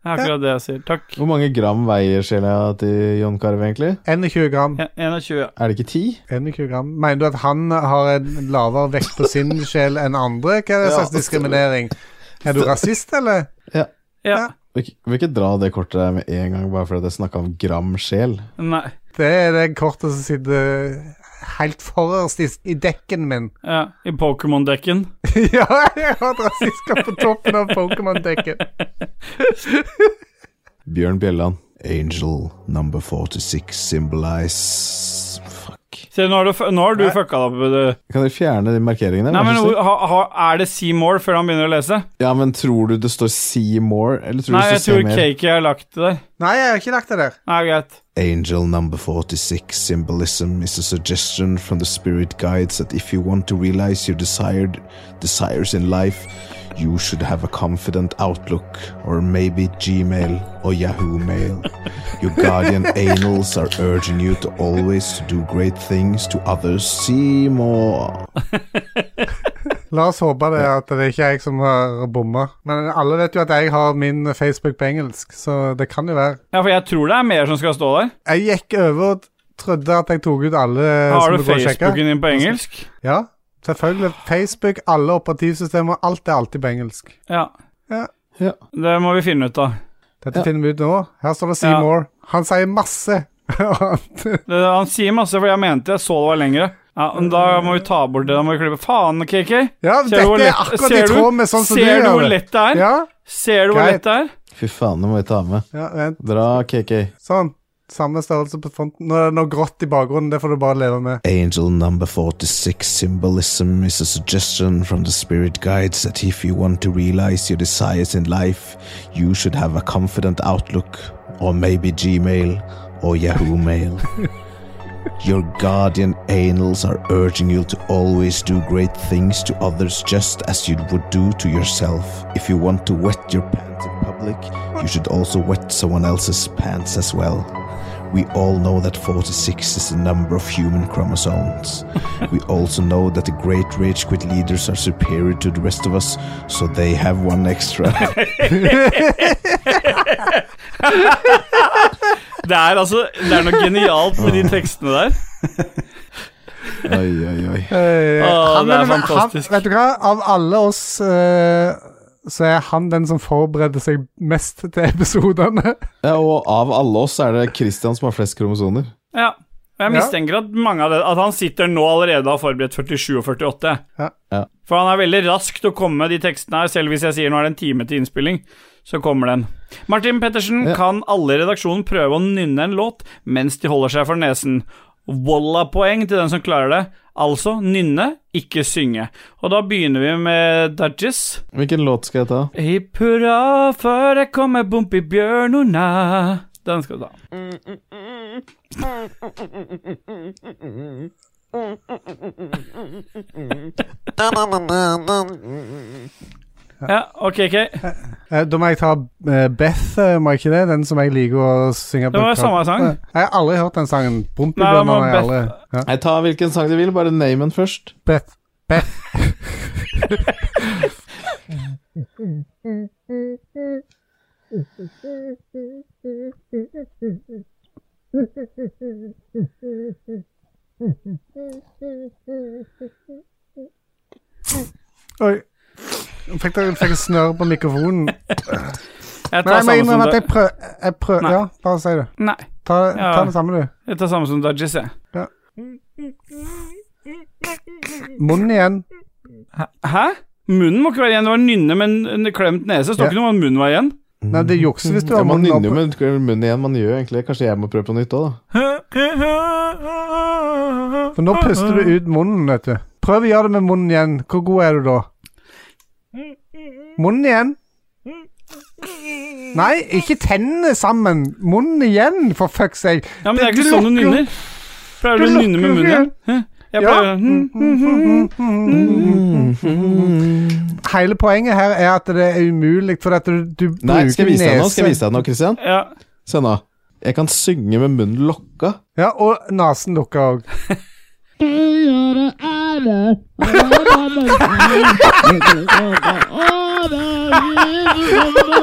Det er akkurat det jeg sier. Takk.
Hvor mange gram veier sjela til John Carew egentlig?
21 gram.
Ja, 21.
Er det ikke ti?
21 gram. Mener du at han har en lavere vekt på sin sjel enn andre? Hva er det
Ja.
slags diskriminering? Er du rasist, eller?
Ja.
Ja.
Vil ikke- vil ikke dra det kortet der med en gang, bare fordi jeg snakka om gram sjel.
Nei.
Det er det kortet som sitter helt forrest i, i dekken min.
Ja. I Pokémon-dekken.
ja, jeg har et rasistkort på toppen av Pokémon-dekken.
Bjørn Bjelland. Angel number 46 symbolize Fuck.
Se, nå har du, f- nå har du fucka deg opp. eh, Du.
Kan dere fjerne de markeringene?
Nei,
Vær
men
så snill?
hvor- ha, ha, Er det Seymour før han begynner å lese?
Ja, men tror du det står see more, eller tror
Nei,
du det
jeg
står
tror
see mer?
Cakey har lagt det der.
Nei, jeg har ikke lagt det der.
Nei, greit.
Angel number 46 symbolism is a suggestion from the spirit guides that if you want to realize your desired desires in life, you should have a confident outlook, or maybe Gmail or Yahoo Mail. Your guardian angels are urging you to always to do great things to others. See more.
La oss håpe det at det ikke er jeg som har bomma. Men alle vet jo at jeg har min Facebook på engelsk, så det kan jo være.
Ja, for jeg tror det er mer som skal stå der.
Jeg gikk over og trodde at jeg tok ut alle
Har
som
du
det går å sjekke.
Facebooken din på engelsk?
Ja. Selvfølgelig. Facebook, alle operativsystemer, alt er alltid på engelsk.
Ja.
Ja.
Ja.
Det må vi finne ut av.
Dette
Ja.
finner vi ut nå. Her står det
Ja.
Seymour. Han sier masse. Og han-
Det, han sier masse, for jeg mente jeg så det var lengre. Ja, men Da må vi ta bort det. Da må vi klippe Faen, KK. Ser
ja,
du
dette
hvor
er
lett-
akkurat i
ser du-
tråd med sånn som du
Ser du hvor
gjør det.
lett det er?
Ja,
Ser du hvor
Greit.
lett det er?
Fy faen, det må vi ta med.
ja, vent.
Dra KK.
Sånn. Samme størrelse på fonten. Nå er det noe grått i bakgrunnen, det får du bare leve med.
Angel number 46 symbolism is a suggestion from the spirit guides that if you want to realize your desires in life, you should have a confident outlook, or maybe Gmail or Yahoo Mail. your guardian angels are urging you to always do great things to others just as you would do to yourself. If you want to wet your pants in public, you should also wet someone else's pants as well. We all know that 46 is the number of human chromosomes. we also know that the great rage quit leaders are superior to the rest of us, so they have one extra.
Det er altså Det er noe genialt med de tekstene der.
oi, oi, oi.
Eh,
Åh,
han
det er
den-
fantastisk.
Han, vet du hva, av alle oss eh, så er han den som forbereder seg mest til episodene.
Ja, og av alle oss er det Christian som har flest kromosoner.
Ja. Og jeg
Ja.
mistenker at mange av det At han sitter nå allerede og har forberedt 47 og 48.
Ja.
Ja.
For han er veldig rask til å komme med de tekstene her, selv hvis jeg sier nå er det en time til innspilling. Så kommer den. Martin Pettersen,
Ja.
kan alle i redaksjonen prøve å nynne en låt mens de holder seg for nesen? Walla-poeng til den som klarer det. Altså nynne, ikke synge. Og da begynner vi med Dudges.
Hvilken låt skal jeg ta?
Hipp hurra, før det kommer bump i bjørnona. Den skal du ta. Ja, ok, ok.
Eh, da må jeg ta eh, Beth, eh, må jeg ikke det? Den som jeg liker å synge på.
Det var jo samme sang.
Eh, Jeg har aldri hørt den sangen.
Nei, det
Bompibjørn
var
har jeg aldri ja.
Nei, ta hvilken sang du vil, bare name den først.
Beth. Beth. Oi. Fikk dere fikk jeg snørr på mikrofonen?
Jeg
Men
tar
jeg må
samme som
innrømme at jeg
Dud-
prøver jeg prøv,
Nei.
Ja, bare si det.
Nei,
Ta,
Ja.
ta det samme, du.
jeg tar samme som Dudges, jeg.
Munnen igjen.
Hæ? Munnen må ikke være igjen. Det var nynne med en klemt nese. Står
Ja.
ikke noe om at munnen var igjen.
Nei, det jukser hvis du
Ja,
har
man
munnen
nynner jo
opp.
med munnen igjen, man gjør egentlig det. Kanskje jeg må prøve på nytt òg, da.
For nå puster du ut munnen, vet du. Prøv å gjøre det med munnen igjen. Hvor god er du da? Munnen igjen. Nei, ikke tennene sammen. Munnen igjen, for fuck's sake.
Ja, men det er
Du
ikke sånn du
lukker-
nynner. Pleier du å
du
nynne med
lukker
munnen igjen? Hæ? Jeg
Ja. Mm,
pleier Mm,
Hele poenget her er at det er umulig, for at du, du
Nei,
bruker
skal jeg vise deg nå?
nese.
Skal jeg vise deg nå, Christian?
Ja.
Se nå. Jeg kan synge med munnen lokka.
Ja, og nesen lukker òg.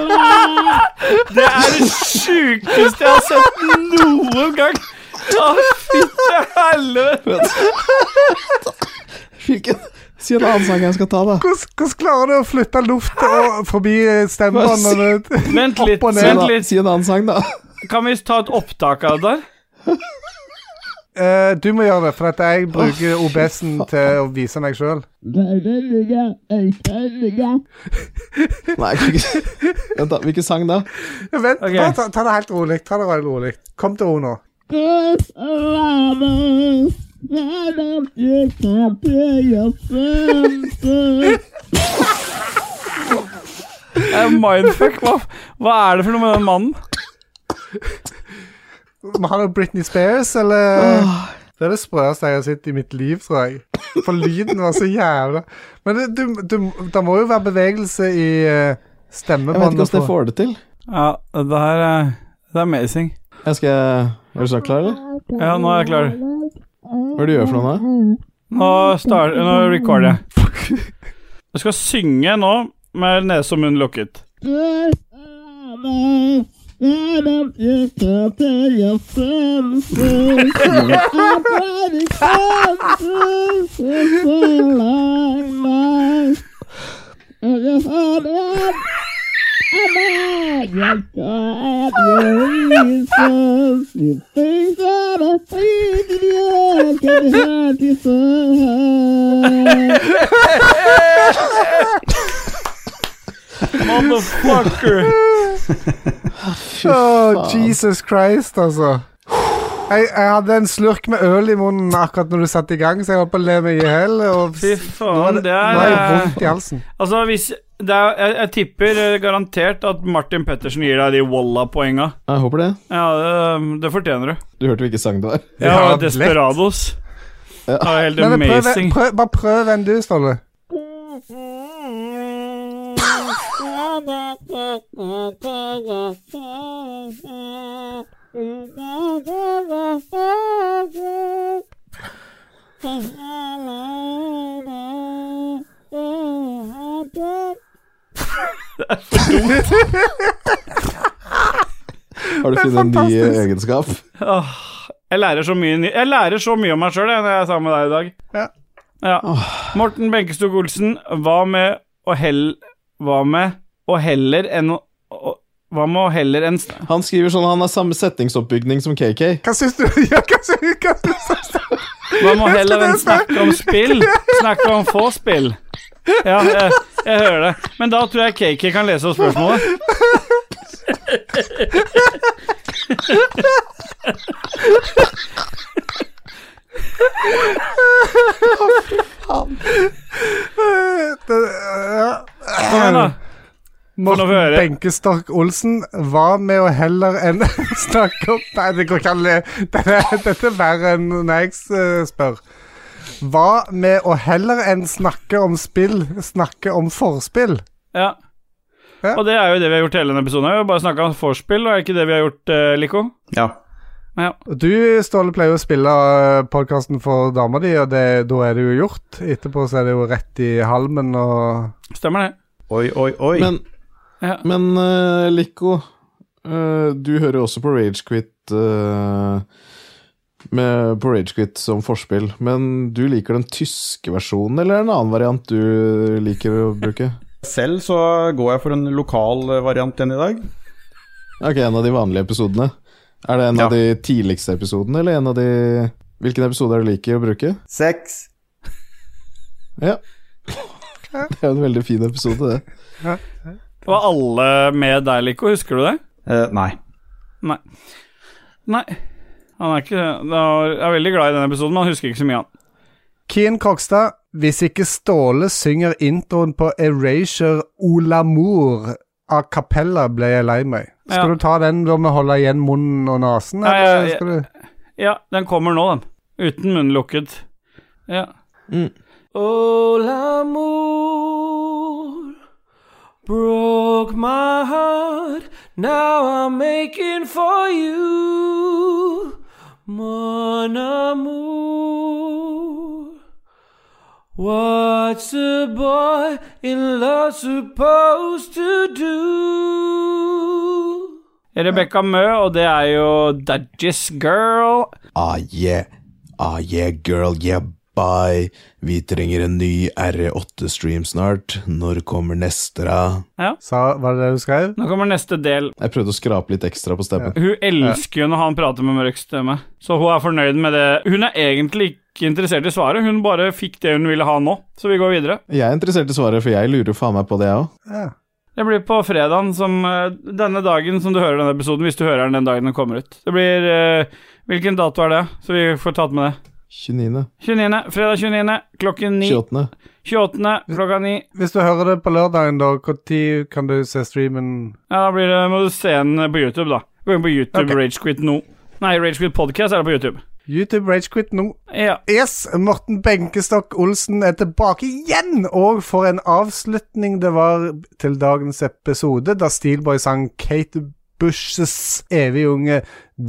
Det er det sjukeste jeg har sett noen gang! Å, fytte helvete!
Hvilken? Si en annen sang jeg skal ta, da.
Hvordan hvordan klarer du å flytte luft og forbi stemmebåndet?
Vent litt,
Opp og ned,
vent
da.
litt.
Si en annen sang, da.
Kan vi ta et opptak av det der?
Eh, du må gjøre det, for at jeg bruker OBS-en til å vise meg sjøl.
Nei, hvilken, Vent da, hvilken sang da?
Vent,
Ok.
bare ta, ta det helt rolig. Ta det helt rolig. Kom til ro nå.
Eh, Mindfuck? Hva, hva er det for noe med den mannen?
Må han ha Britney Spears, eller? Det er det sprøeste jeg har sett i mitt liv, tror jeg. For lyden var så jævla Men det, du, du, det må jo være bevegelse i eh,
Jeg vet ikke
stemmebåndet.
hvordan jeg
på-
får det til.
Ja, det her er, det er amazing.
Jeg skal... Er du snart klar, eller?
Ja, nå er jeg klar.
Hva er det du gjør for noe da?
Nå, start, nå recorder jeg. Du skal synge nå med nese og munn lukket.
Thank
Motherfucker!
Åh, Jesus Christ, altså. Jeg, jeg hadde en slurk med øl i munnen akkurat når du satte i gang, så jeg holdt på å le meg i hjel. og
Fy faen, det
Nå er
er
jeg
eh,
vondt i halsen.
Altså, hvis det er, jeg, jeg tipper eh, garantert at Martin Pettersen gir deg de walla-poenga.
Jeg håper det.
Ja, det, det fortjener du.
Du hørte hvilken sang det var.
Ja,
Ja, lett.
Desperados. Det var helt
Men prøv,
amazing.
prøv, bare prøv en du, Ståle.
Har du funnet en ny
fantastisk.
egenskap?
Åh, jeg, lærer så mye, ny- jeg lærer så mye om meg sjøl når jeg er sammen med deg i dag.
Ja.
Ja. Morten Benkestok Olsen, hva med å hell... Hva med å heller enn å å- Hva med å heller enn st-
Han skriver sånn han har samme setningsoppbygning som KK.
Hva syns du? Ja, hva syns hva syns du?
Hva med å heller enn snakke om spill? Snakke om få spill. Ja, jeg, jeg hører det. Men da tror jeg KK kan lese opp spørsmålet.
Det, ja.
Kom igjen, da. nå
Morten
få høre.
Benkestork Olsen, hva med å heller enn snakke om Nei, det går ikke an å le. Dette er- dette er verre enn når jeg eh, spør. Hva med å heller enn snakke om spill, snakke om forspill?
Ja.
Ja.
Og det er jo det vi har gjort hele denne episoden. Vi har jo bare snakka om vorspiel, og er ikke det vi har gjort, eh, Lico?
Ja.
Ja.
Du, Ståle, pleier jo å spille podkasten for dama di, og det, da er det jo gjort. Etterpå så er det jo rett i halmen og
Stemmer det.
Oi, oi, oi.
Men,
Ja.
men eh, Lico, eh, du hører jo også på Ragequit med, på Ragequit som forspill. Men du liker den tyske versjonen, eller er det en annen variant du liker å bruke?
Selv så går jeg for en lokal eh, variant enn i dag.
Ok, en av de vanlige episodene. Er det en av
Ja.
de tidligste episodene, eller en av de Hvilken episode er det du liker å bruke?
Seks.
Ja. Det er jo en veldig fin episode, det.
Var alle med deg, Lico? Husker du det?
Eh, nei.
Nei. Nei. Han er ikke han er- Jeg er veldig glad i den episoden, men han husker ikke så mye, han.
Keen Krogstad, hvis ikke Ståle synger introen på Erasure Olamour a cappella, ble jeg lei meg. Skal
Ja.
du ta den da med å holde igjen munnen og nesen?
Nei,
eller
jeg-
skal du-
Ja, den kommer nå, den. Uten munnen lukket. Ja.
Mm.
Oh, l'amour broke my heart. Now I'm making for you. Mon amour. What's a boy in love supposed to do? Rebekka Mø, og det er jo Dadgies Girl.
Ah yeah, ah yeah girl, yeah bye. Vi trenger en ny R8-stream snart. Når kommer neste, da?
Sa, var det det du skrev?
Nå kommer neste del.
Jeg prøvde å skrape litt ekstra på stemmen.
Hun elsker jo når han prater med mørk stemme, så hun er fornøyd med det. Hun er egentlig ikke interessert i svaret, hun bare fikk det hun ville ha nå. Så vi går videre.
Jeg er interessert i svaret, for jeg lurer jo faen meg på det, jeg òg.
Ja.
Det blir på fredagen som eh, Denne dagen som du hører denne episoden, hvis du hører den den dagen den kommer ut. Det blir eh, Hvilken dato er det? Så vi får tatt med det.
29.
29. Fredag 29. klokken 9.
28.
28. klokka 9.
Hvis du hører det på lørdagen, da, når kan du se streamen?
Ja, da blir det, må du se den på YouTube, da. Gå inn på YouTube
Ok.
Ragequit nå. Nei, Ragequit Podcast er det på YouTube.
YouTube Ragequit nå.
Ja.
Yes, Morten Benkestokk Olsen er tilbake igjen, og for en avslutning det var til dagens episode, da Steelboy sang Kate Bushes evige unge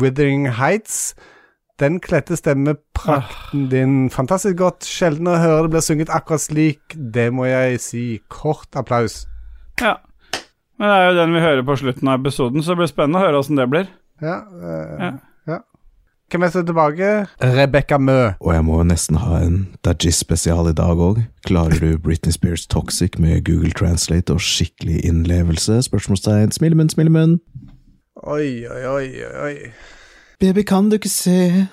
Withering Heights. Den kledde stemmeprakten din fantastisk godt. Sjelden å høre det blir sunget akkurat slik. Det må jeg si. Kort applaus.
ja. Men det er jo den vi hører på slutten av episoden, så det blir spennende å høre åssen det blir.
Ja. eh,
Ja.
ja. Hvem er som er tilbake? Rebekka Mø.
Og jeg må jo nesten ha en Dajis-spesial i dag òg. Klarer du Britney Spears Toxic med Google Translate og skikkelig innlevelse? Spørsmålstegn. Smilemunn, smilemunn.
Oi, oi, oi, oi.
Baby, kan du ikke se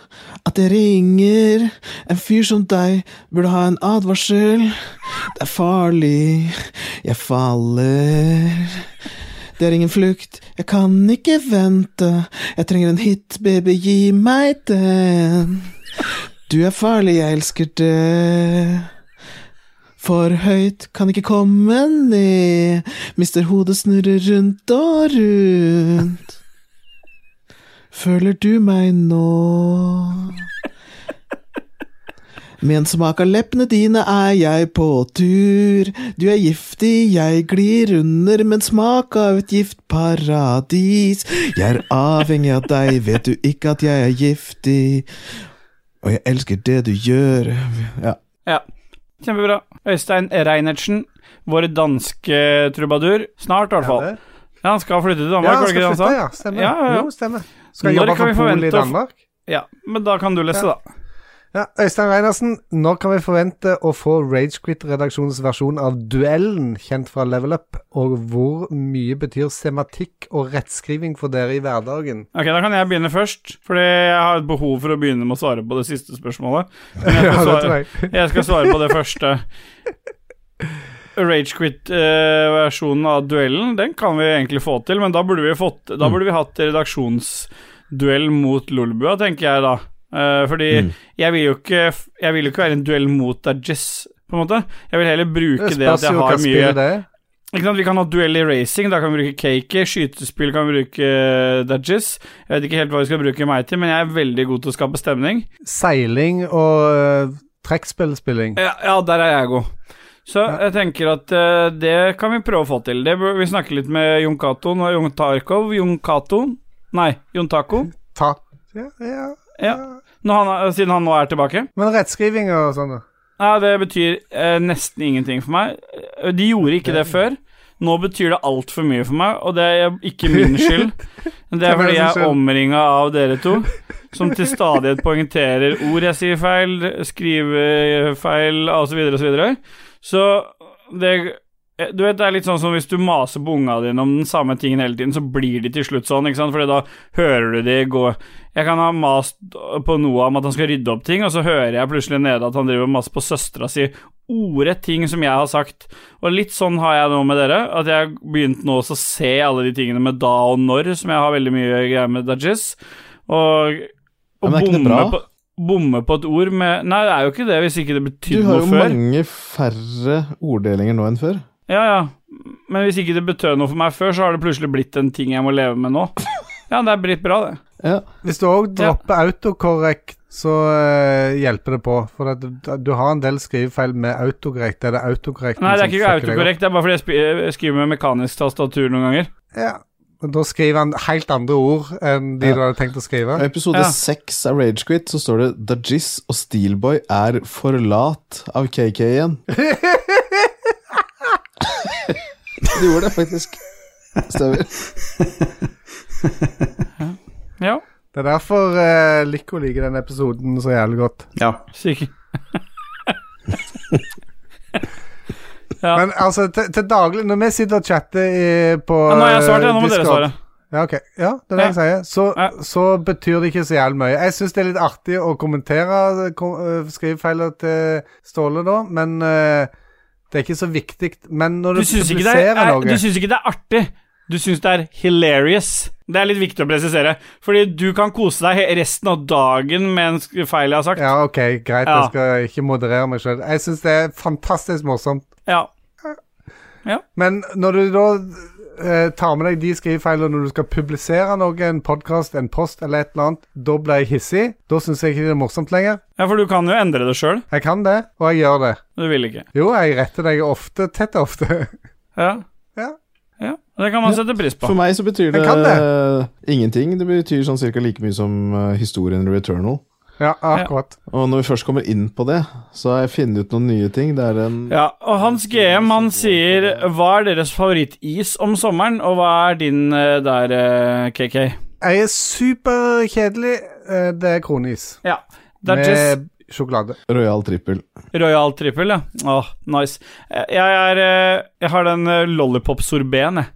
at det ringer? En fyr som deg burde ha en advarsel. Det er farlig, jeg faller. Det er ingen flukt, jeg kan ikke vente. Jeg trenger en hit, baby, gi meg den. Du er farlig, jeg elsker det. For høyt kan ikke komme ned. Mister hodet snurrer rundt og rundt. Føler du meg nå? Med en smak av leppene dine er jeg på tur. Du er giftig, jeg glir under, men smak av et giftparadis. Jeg er avhengig av deg, vet du ikke at jeg er giftig? Og jeg elsker det du gjør. Ja.
Ja. Kjempebra. Øystein Reinertsen, vår danske trubadur. Snart, i hvert fall.
Ja,
Ja, han skal flytte til Danmark,
han
var det ikke
skal
det han
flytte,
sa?
ja. Stemmer.
Ja, ja, ja.
Jo, stemmer.
Når
Skal jobbe
kan vi
for Polet i
forvente å f-
Danmark.
Ja, men da kan du lese,
Ja.
da.
Ja, Øystein Reinersen, når kan vi forvente å få Ragequit-redaksjonens versjon av Duellen, kjent fra Level Up, og hvor mye betyr sematikk og rettskriving for dere i hverdagen?
Ok, Da kan jeg begynne først, fordi jeg har et behov for å begynne med å svare på det siste spørsmålet. Men jeg skal,
det tror
svare,
jeg.
jeg skal svare på det første. Ragequit-versjonen eh, av duellen, den kan vi egentlig få til, men da burde vi, fått, da
Mm.
burde vi hatt redaksjonsduell mot Lolbua, tenker jeg da. Eh, fordi
Mm.
jeg vil jo ikke Jeg vil jo ikke være i en duell mot Dajess, på en måte. Jeg vil heller bruke det at
spørs
jeg
jo hva
har mye
spillet det er.
Ikke sant, Vi kan ha duell i racing, da kan vi bruke Cakey. Skytespill kan vi bruke eh, Dudges. Jeg vet ikke helt hva vi skal bruke meg til, men jeg er veldig god til å skape stemning.
Seiling og øh, trekkspillspilling.
Ja, ja der er jeg god. Så jeg tenker at eh, det kan vi prøve å få til. Det bør, vi snakker litt med Jon Cato og Jon Tarkov. Jon Cato Nei, Jon Taco.
Ta. Ja, ja.
Ja. Når han, er- siden han nå er tilbake.
Men rettskriving og sånn, da?
Nei, det betyr eh, nesten ingenting for meg. Eh, De gjorde ikke det før. Nå betyr det altfor mye for meg, og det er ikke min skyld. Det er
Hvem er det
fordi
som
jeg er
skyld?
omringa av dere to, som til stadighet poengterer ord jeg sier feil, skrivefeil osv. osv. Så, videre. så det eh, Du vet, det er litt sånn som hvis du maser på unga dine om den samme tingen hele tiden, så blir de til slutt sånn, ikke sant, Fordi da hører du de gå jeg kan ha mast på Noah om at han skal rydde opp ting, og så hører jeg plutselig nede at han driver og maser på søstera si ordrett ting som jeg har sagt. Og litt sånn har jeg nå med dere, at jeg har begynt nå også å se alle de tingene med da og når, som jeg har veldig mye greier med Dudges. Og,
Ja,
og
men er ikke det
bomme,
bra?
på, bomme på et ord med Nei, det er jo ikke det, hvis ikke det
Du
betydde
har
noe
jo
før.
mange færre orddelinger nå enn før.
Ja, ja. Men hvis ikke det betød noe for meg før, så har det plutselig blitt en ting jeg må leve med nå. Ja, det er blitt bra, det.
Ja.
Hvis du òg
Ja.
dropper autocorrect, så øh, hjelper det på. For at du, du har en del skrivefeil med autocorrect. Er det autocorrect?
Nei, det er ikke autokorrekt, det er bare fordi jeg spi- eh, jeg skriver med mekanisk tastatur noen ganger.
Ja. Men da skriver han helt andre ord enn de
Ja.
du hadde tenkt å skrive.
I episode
Ja.
seks av Ragequit så står det Dajis og Steelboy er for lat av KK igjen. De gjorde det faktisk. Stemmer.
Ja,
Det er derfor uh, Lico liker den episoden så jævlig godt.
Ja.
sikkert. Ja.
Men altså, til, til daglig, når vi sitter og chatter i, på
Ja, nå har jeg svart, ja. Nå må
eh,
dere
Discord-
svare.
Ja, ok. Ja, det er det jeg sier. Så,
Ja.
så betyr det ikke så jævlig mye. Jeg syns det er litt artig å kommentere eh, kom, eh, skrivefeiler til Ståle, da, men eh, det er ikke så viktig. Men når
Du
du,
syns ikke, det
publiserer
er- er-
noe
du syns ikke det er artig. Du syns det er hilarious. Det er litt viktig å presisere. Fordi du kan kose deg he- resten av dagen med en sk- feil jeg har sagt.
Ja, OK, greit,
Ja.
jeg skal ikke moderere meg sjøl. Jeg syns det er fantastisk morsomt.
Ja.
Men når du da eh, tar med deg de skrivefeilene når du skal publisere noe, en podkast, en post eller et eller annet, da blir jeg hissig. Da syns jeg ikke det er morsomt lenger.
ja, for du kan jo endre det sjøl.
Jeg kan det, og jeg gjør det.
Du vil ikke.
Jo, jeg retter deg ofte, tett ofte.
Ja.
Ja.
ja. Det kan man sette pris
For
på.
meg så betyr det,
Jeg kan det.
eh, ingenting. Det betyr sånn cirka like mye som eh, historien i Returnal.
Ja, akkurat.
Og når vi først kommer inn på det, så har jeg funnet ut noen nye ting. Det er en
Ja, og Hans GM han sier hva er deres favorittis om sommeren, og hva er din eh, der, eh, KK?
Jeg er superkjedelig. eh, Det er kronis.
Ja. Det er just
Med sjokolade.
Royal Trippel.
Royal trippel, ja. Åh, nice. Eh, Jeg, er, eh, jeg har den lollipop-sorbeten, jeg.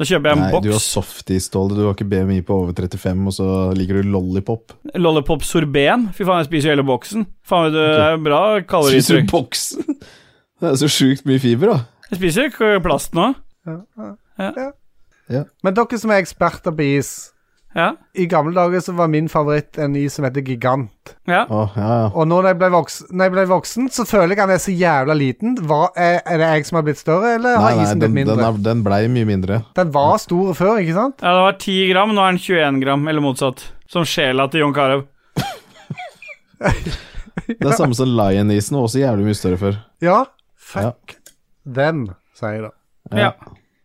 Da kjøper jeg en
Nei, du har
boks.
softis, Ståle. Du har ikke BMI på over 35, og så liker du lollipop.
Lollipop sorbeten. Fy faen, jeg spiser jo hele boksen. Faen, vet du, det er bra
Spiser du
kaloritrykk.
boksen? Det er så sjukt mye fiber, da.
Jeg spiser ikke plast nå.
Men dere som er eksperter på is
Ja.
I gamle dager så var min favoritt en is som heter Gigant.
ja.
Å, ja, ja.
Og nå når jeg ble voksen, når jeg ble voksen så føler jeg han er så jævla liten. Hva, er, er det jeg som har blitt større, eller
Nei,
har
nei,
isen
den,
blitt mindre?
den,
Den,
er, den blei mye mindre.
var stor før, ikke sant?
Ja, det var 10 gram, nå er den 21 gram, eller motsatt. Som sjela til Jon Carew.
Det er samme som Lion-isen, var også jævlig mye større før.
Ja. Fuck dem, sier jeg da.
Ja.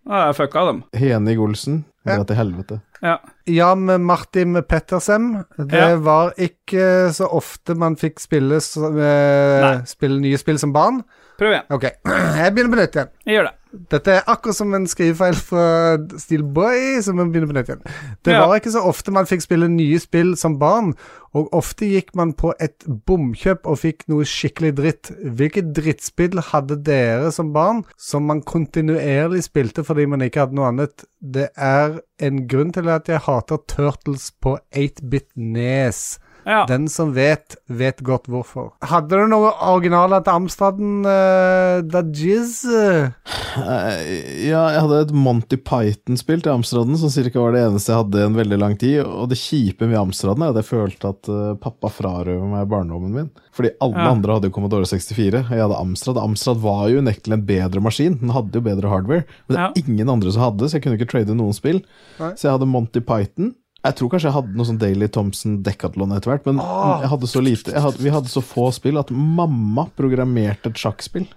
Da er jeg fucka dem.
Henig Olsen, det
Ja.
er til helvete.
Ja.
Jan Martin Pettersen. Det
Ja.
var ikke så ofte man fikk spille, s- eh, spille nye spill som barn.
Prøv igjen.
OK, jeg begynner på nytt igjen.
Jeg gjør det.
Dette er akkurat som en skrivefeil fra Steelboy, som vi begynner på nytt igjen. Det
Ja.
var ikke så ofte man fikk spille nye spill som barn, og ofte gikk man på et bomkjøp og fikk noe skikkelig dritt. Hvilke drittspill hadde dere som barn som man kontinuerlig spilte fordi man ikke hadde noe annet? Det er en grunn til at jeg hater Turtles på 8-bit Nes.
Ja.
Den som vet, vet godt hvorfor. Hadde du noe originaler til Amstraden, uh, Dajizz? eh,
Eh, Ja, jeg hadde et Monty Python-spill til Amstraden, som cirka var det eneste jeg hadde en veldig lang tid. Og det kjipe med Amstraden er at jeg følte at eh, pappa frarøver meg barndommen min. Fordi alle
Ja.
andre hadde jo Commodore 64, og jeg hadde Amstrad. Amstrad var jo unektelig en bedre maskin, den hadde jo bedre hardware. Men det er
Ja.
ingen andre som hadde, så jeg kunne ikke trade noen spill.
Nei.
Så jeg hadde Monty Python. Jeg tror kanskje jeg hadde noe sånn Daily Thompson Decathlon etter hvert, men
Ah.
jeg hadde så lite, jeg hadde, vi hadde så få spill at mamma programmerte et sjakkspill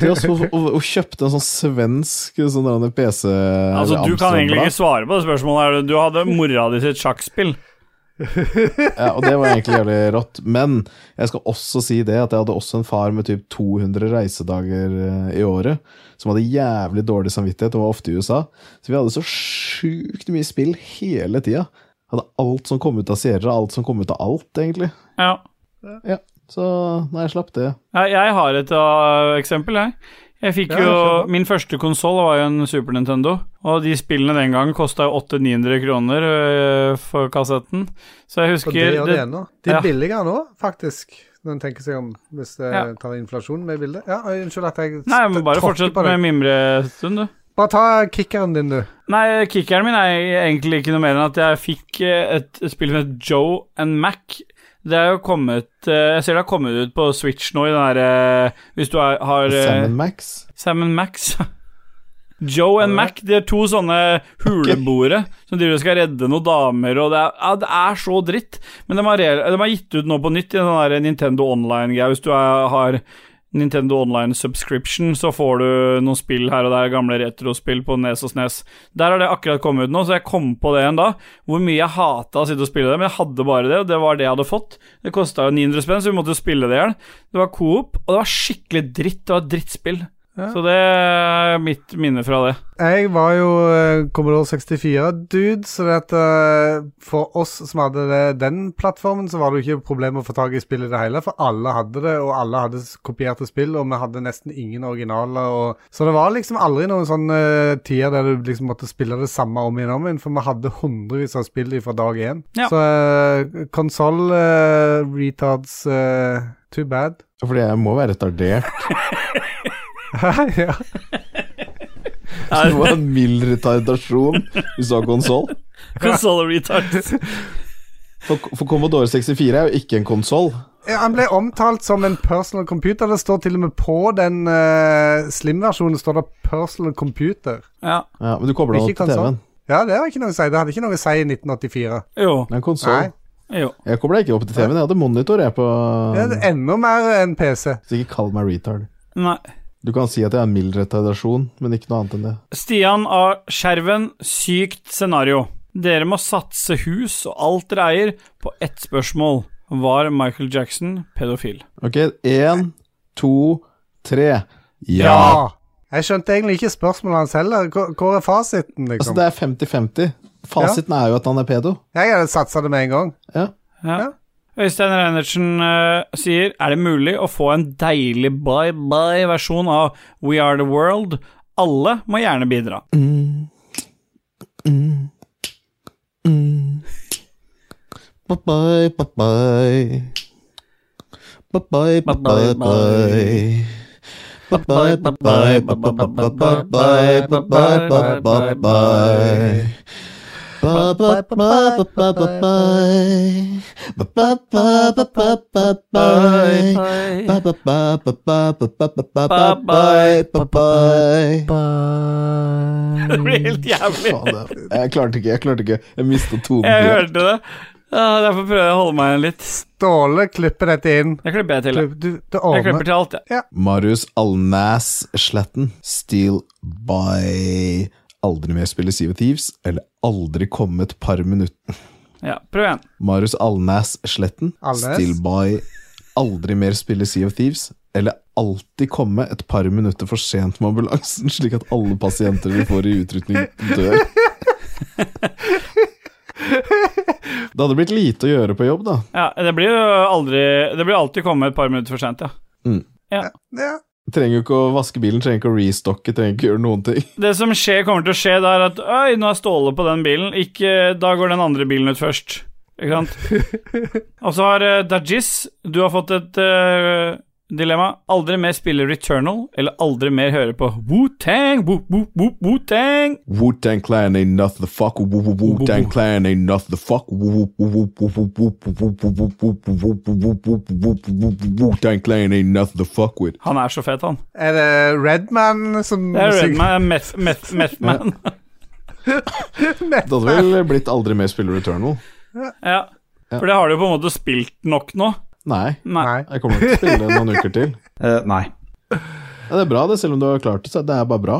til oss og, og, og kjøpte en sånn svensk sånn der PC
Altså, du kan egentlig ikke svare på det spørsmålet. her. Du hadde mora di sitt sjakkspill.
ja, Og det var egentlig jævlig rått. Men jeg skal også si det at jeg hadde også en far med typ 200 reisedager eh, i året, som hadde jævlig dårlig samvittighet og var ofte i USA. Så vi hadde så sjukt mye spill hele tida. Hadde alt som kom ut av Sierra, alt som kom ut av alt, egentlig.
Ja.
Ja, Så nei, jeg slapp det.
Ja, Jeg har et uh, eksempel, jeg. Jeg fikk
Ja,
jo,
jeg skjønner.
Min første konsoll var jo en Super Nintendo, og de spillene den gangen kosta 800-900 kroner øh, for kassetten. Så jeg
For
husker
det gjør det
det-
ennå. De er
Ja.
billigere nå, faktisk, når en tenker seg om, hvis det
Ja.
tar inflasjon med i bildet. Ja, øy, Unnskyld at jeg
Nei, men bare
tråkker
fortsett
på deg.
med mimrestund, du.
Bare ta kickeren din, du.
Nei, kickeren min er egentlig ikke noe mer enn at jeg fikk eh, et, et spill som het Joe and Mac. Det er jo kommet eh, Jeg ser det har kommet ut på Switch nå i den derre Hvis du er, har eh,
Sam Max.
Sam and Max. Joe and Mac, de er to sånne huleboere som driver og skal redde noen damer, og det er, ja, det er så dritt. Men de har, re- de har gitt ut nå på nytt i den der Nintendo Online-greia. Hvis du er, har Nintendo Online subscription, så får du noen spill her og der, gamle retrospill på Nes og Snes. Der har det akkurat kommet ut nå, så jeg kom på det igjen da. Hvor mye jeg hata å sitte og spille det, men jeg hadde bare det, og det var det jeg hadde fått. Det kosta jo 900 spenn, så vi måtte jo spille det i hjel. Det var coop, og det var skikkelig dritt. Det var et drittspill. Så det er mitt minne fra det.
Jeg var jo eh, Commodore 64-dude, så det at, eh, for oss som hadde det, den plattformen, så var det jo ikke problem å få tak i spill i det hele, for alle hadde det, og alle hadde s- kopierte spill, og vi hadde nesten ingen originaler. Og... Så det var liksom aldri noen sånne eh, tider der du liksom måtte spille det samme om igjen og om igjen, for vi hadde hundrevis av spill fra dag én.
Ja.
Så uh, konsoll-retards eh, Too bad.
Fordi jeg må være retardert.
ja.
Det var en mild retardasjon hvis du har konsoll.
Console retards.
For, for Commodore 64 er jo ikke en konsoll.
Ja, Eh, Han ble omtalt som en personal computer. Det står til og med på den eh, slim-versjonen står det 'personal computer'.
Ja.
Ja, men du kobler den opp
Ikke
til
konsoll.
TV-en.
Ja, det har ikke noe å si. Det hadde ikke noe å si i 1984.
Jo.
Det er en konsoll.
Nei.
Jo.
Jeg kobla ikke opp til TV-en. Jeg hadde monitor, jeg, på
Det
Mm.
er enda mer enn PC.
Så ikke kall meg retard.
Nei.
Du kan si at jeg har en mild retardasjon, men ikke noe annet enn det.
Stian A. Skjerven, sykt scenario. Dere må satse hus og alt dere eier, på ett spørsmål. Var Michael Jackson pedofil?
Ok, én, to, tre. Ja!
Ja. Jeg skjønte egentlig ikke spørsmålet hans heller. Hvor- Hvor er fasiten,
Altså,
liksom?
det er 50-50. Fasiten er jo at han er pedo.
Jeg hadde satsa det med en gang.
Ja. Øystein Reinertsen eh, sier Er det mulig å få en deilig bye-bye-versjon av We Are The World? Alle må gjerne bidra.
Mm. Mm. Mm. Bye-bye, bye-bye. Bye-bye, bye-bye, bye. Bye-bye, bye-bye, bye-bye, bye-bye, bye-bye, bye-bye, bye. Bye-bye, bye-bye, bye-bye. Bye-bye, bye-bye, bye-bye. Bye-bye, bye-bye, bye-bye, bye-bye, bye-bye.
Det blir helt jævlig.
Faen, det- Jeg klarte ikke, jeg klarte ikke. Jeg mista tonen.
Jeg hørte Mm, det. Ah, derfor prøver jeg å holde meg igjen litt.
Ståle klipper dette inn.
Det klipper jeg til. jeg.
Klipp, du, det
Jeg klipper
ordner
til alt, jeg.
Marius Alnæs Sletten, Steal by Aldri mer spille Sea of Thieves, eller aldri komme et par minutter
Ja, prøv igjen.
Marius Alnæs Sletten,
Alnæs?
Steal by Aldri mer spille Sea of Thieves, eller alltid komme et par minutter for sent med ambulansen, slik at alle pasienter de får i utrykning, dør. Det hadde blitt lite å gjøre på jobb, da.
Ja, det blir jo aldri Det blir alltid kommet et par minutter for sent, ja.
Ja.
Trenger jo ikke å vaske bilen, trenger ikke å restocke, trenger ikke å gjøre noen ting.
Det som skjer, kommer til å skje, det er at Oi, nå er Ståle på den bilen. Ikke Da går den andre bilen ut først. Ikke sant? Og så har eh, Dajis Du har fått et eh, dilemma. Aldri mer spille Returnal, eller aldri mer høre på Wu-Tang, Wu- Wu- Wu- Wu-Tang.
Wu-Tang Clan ain't nothing to fuck with. Wu- Wu- Wu-Tang Clan ain't nothing to fuck with. Wu- Wu- Wu- Wu- Wu- Wu- Wu- Wu- Wu- Wu- Wu- Wu- Wu- Wu- Wu- Wu- Wu- Wu- Wu-Tang Clan ain't nothing to fuck with.
Han er så fet, han.
Er det Redman som
Det er Redman, meth, meth, meth man.
Det hadde vel blitt aldri mer spiller Returnal?
Ja. For det har du jo på en måte spilt nok nå.
Nei,
Nei.
Nei.
jeg kommer nok til å spille det noen uker til.
Eh, nei.
Ja, det er bra, det, selv om du har klart det. Så det er bare bra.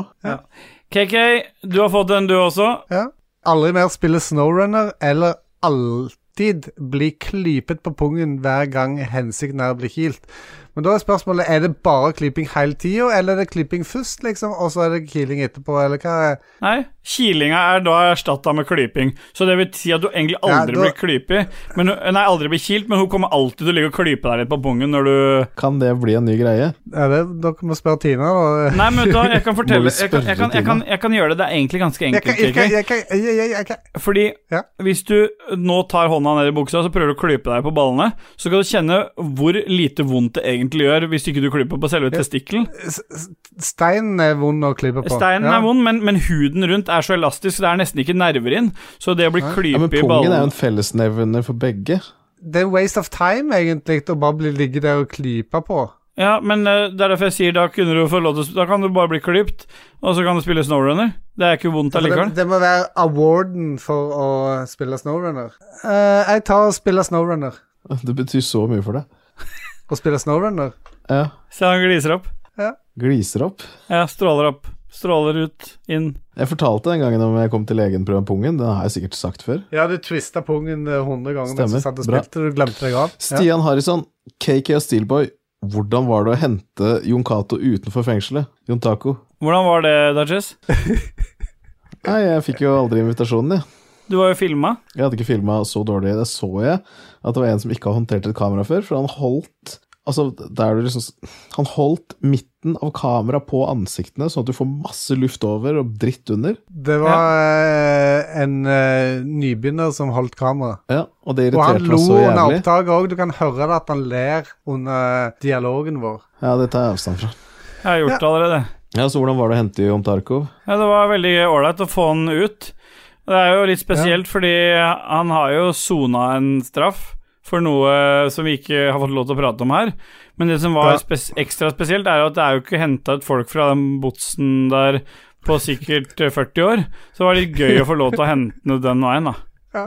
KK, du har fått en, du også.
Ja. Aldri mer spille Snowrunner, eller alltid bli klypet på pungen hver gang hensikten er å bli kilt. Men da er spørsmålet er det bare klyping hele tida, eller er det klyping først, liksom, og så er det kiling etterpå, eller hva er
Nei, kilinga er da erstatta med klyping. Så det vil si at du egentlig aldri
Ja, da-
blir klypig. Men, hun- nei, aldri blir kilt, men hun kommer alltid til å ligge og klype deg litt på pungen når du
Kan det bli en ny greie?
er det, Dere må spørre Tina, da.
Nei, men vet du hva, jeg kan
Må vi
fortelle Jeg
spørre
kan, jeg kan, jeg kan, jeg kan gjøre det. Det er egentlig ganske
Jeg kan,
enkelt.
jeg, kan,
Kiki.
jeg, kan, jeg, jeg, jeg, jeg kan
Fordi
Ja.
hvis du nå tar hånda ned i buksa, så prøver du å klype deg på ballene, så kan du kjenne hvor lite vondt det egentlig gjør hvis ikke du klyper på selve testikkelen.
S- s- Steinen er vond å klype på.
Steinen
Ja.
er vond, men, men huden rundt er så elastisk, så det er nesten ikke nerver inn. Så det å bli
Ja, men
klypig i
pungen er jo
ballene
en fellesnevner for begge.
Det er waste of time, egentlig, å bare bli ligge der og klype på.
Ja, men eh, det er derfor jeg sier da, kunne du få lov til, å sp- da kan du bare bli klipt, og så kan du spille Snowrunner. Det er ikke vondt
For Det,
allikevel.
det må være awarden for å spille snowrunner. Eh, jeg tar og spiller snowrunner.
Det betyr så mye for deg.
Å spille snowrunner?
Ja.
Se, han gliser opp.
Gliser opp.
Ja, stråler opp. Stråler ut, inn.
Jeg fortalte den gangen om jeg kom til legen på grunn av pungen. Den har jeg sikkert sagt før.
Ja, du twista pungen eh, 100 ganger mens
Stemmer.
du satt og
Bra.
spilte, du glemte deg av.
Stian Harrison, KK og Steelboy, hvordan var det å hente Jon Cato utenfor fengselet? Jon Taco?
Hvordan var det, Dodges?
Nei, jeg fikk jo aldri invitasjonen, jeg.
Du var jo filma.
Jeg hadde ikke filma så dårlig. Det så jeg at det var en som ikke har håndtert et kamera før, for han holdt Altså, der du liksom Han holdt midten av kameraet på ansiktene, sånn at du får masse luft over og dritt under.
Det var eh, en eh, nybegynner som holdt kamera.
Ja, og det
Og han
irriterte
lo
meg så
under
jævlig.
opptaket òg. Du kan høre det at han ler under dialogen vår.
Ja, det tar jeg avstand fra.
Jeg har gjort det allerede.
Ja, Så hvordan var det å hente Jon Tarkov?
Ja, det var veldig ålreit å få han ut. Det er jo litt spesielt, fordi han har jo sona en straff for noe som vi ikke har fått lov til å prate om her. Men det som var
Ja.
spes ekstra spesielt, er jo at det er jo ikke henta ut folk fra den botsen der på sikkert eh, 40 år. Så det var litt gøy å få lov til å hente ned den veien, da. Ja.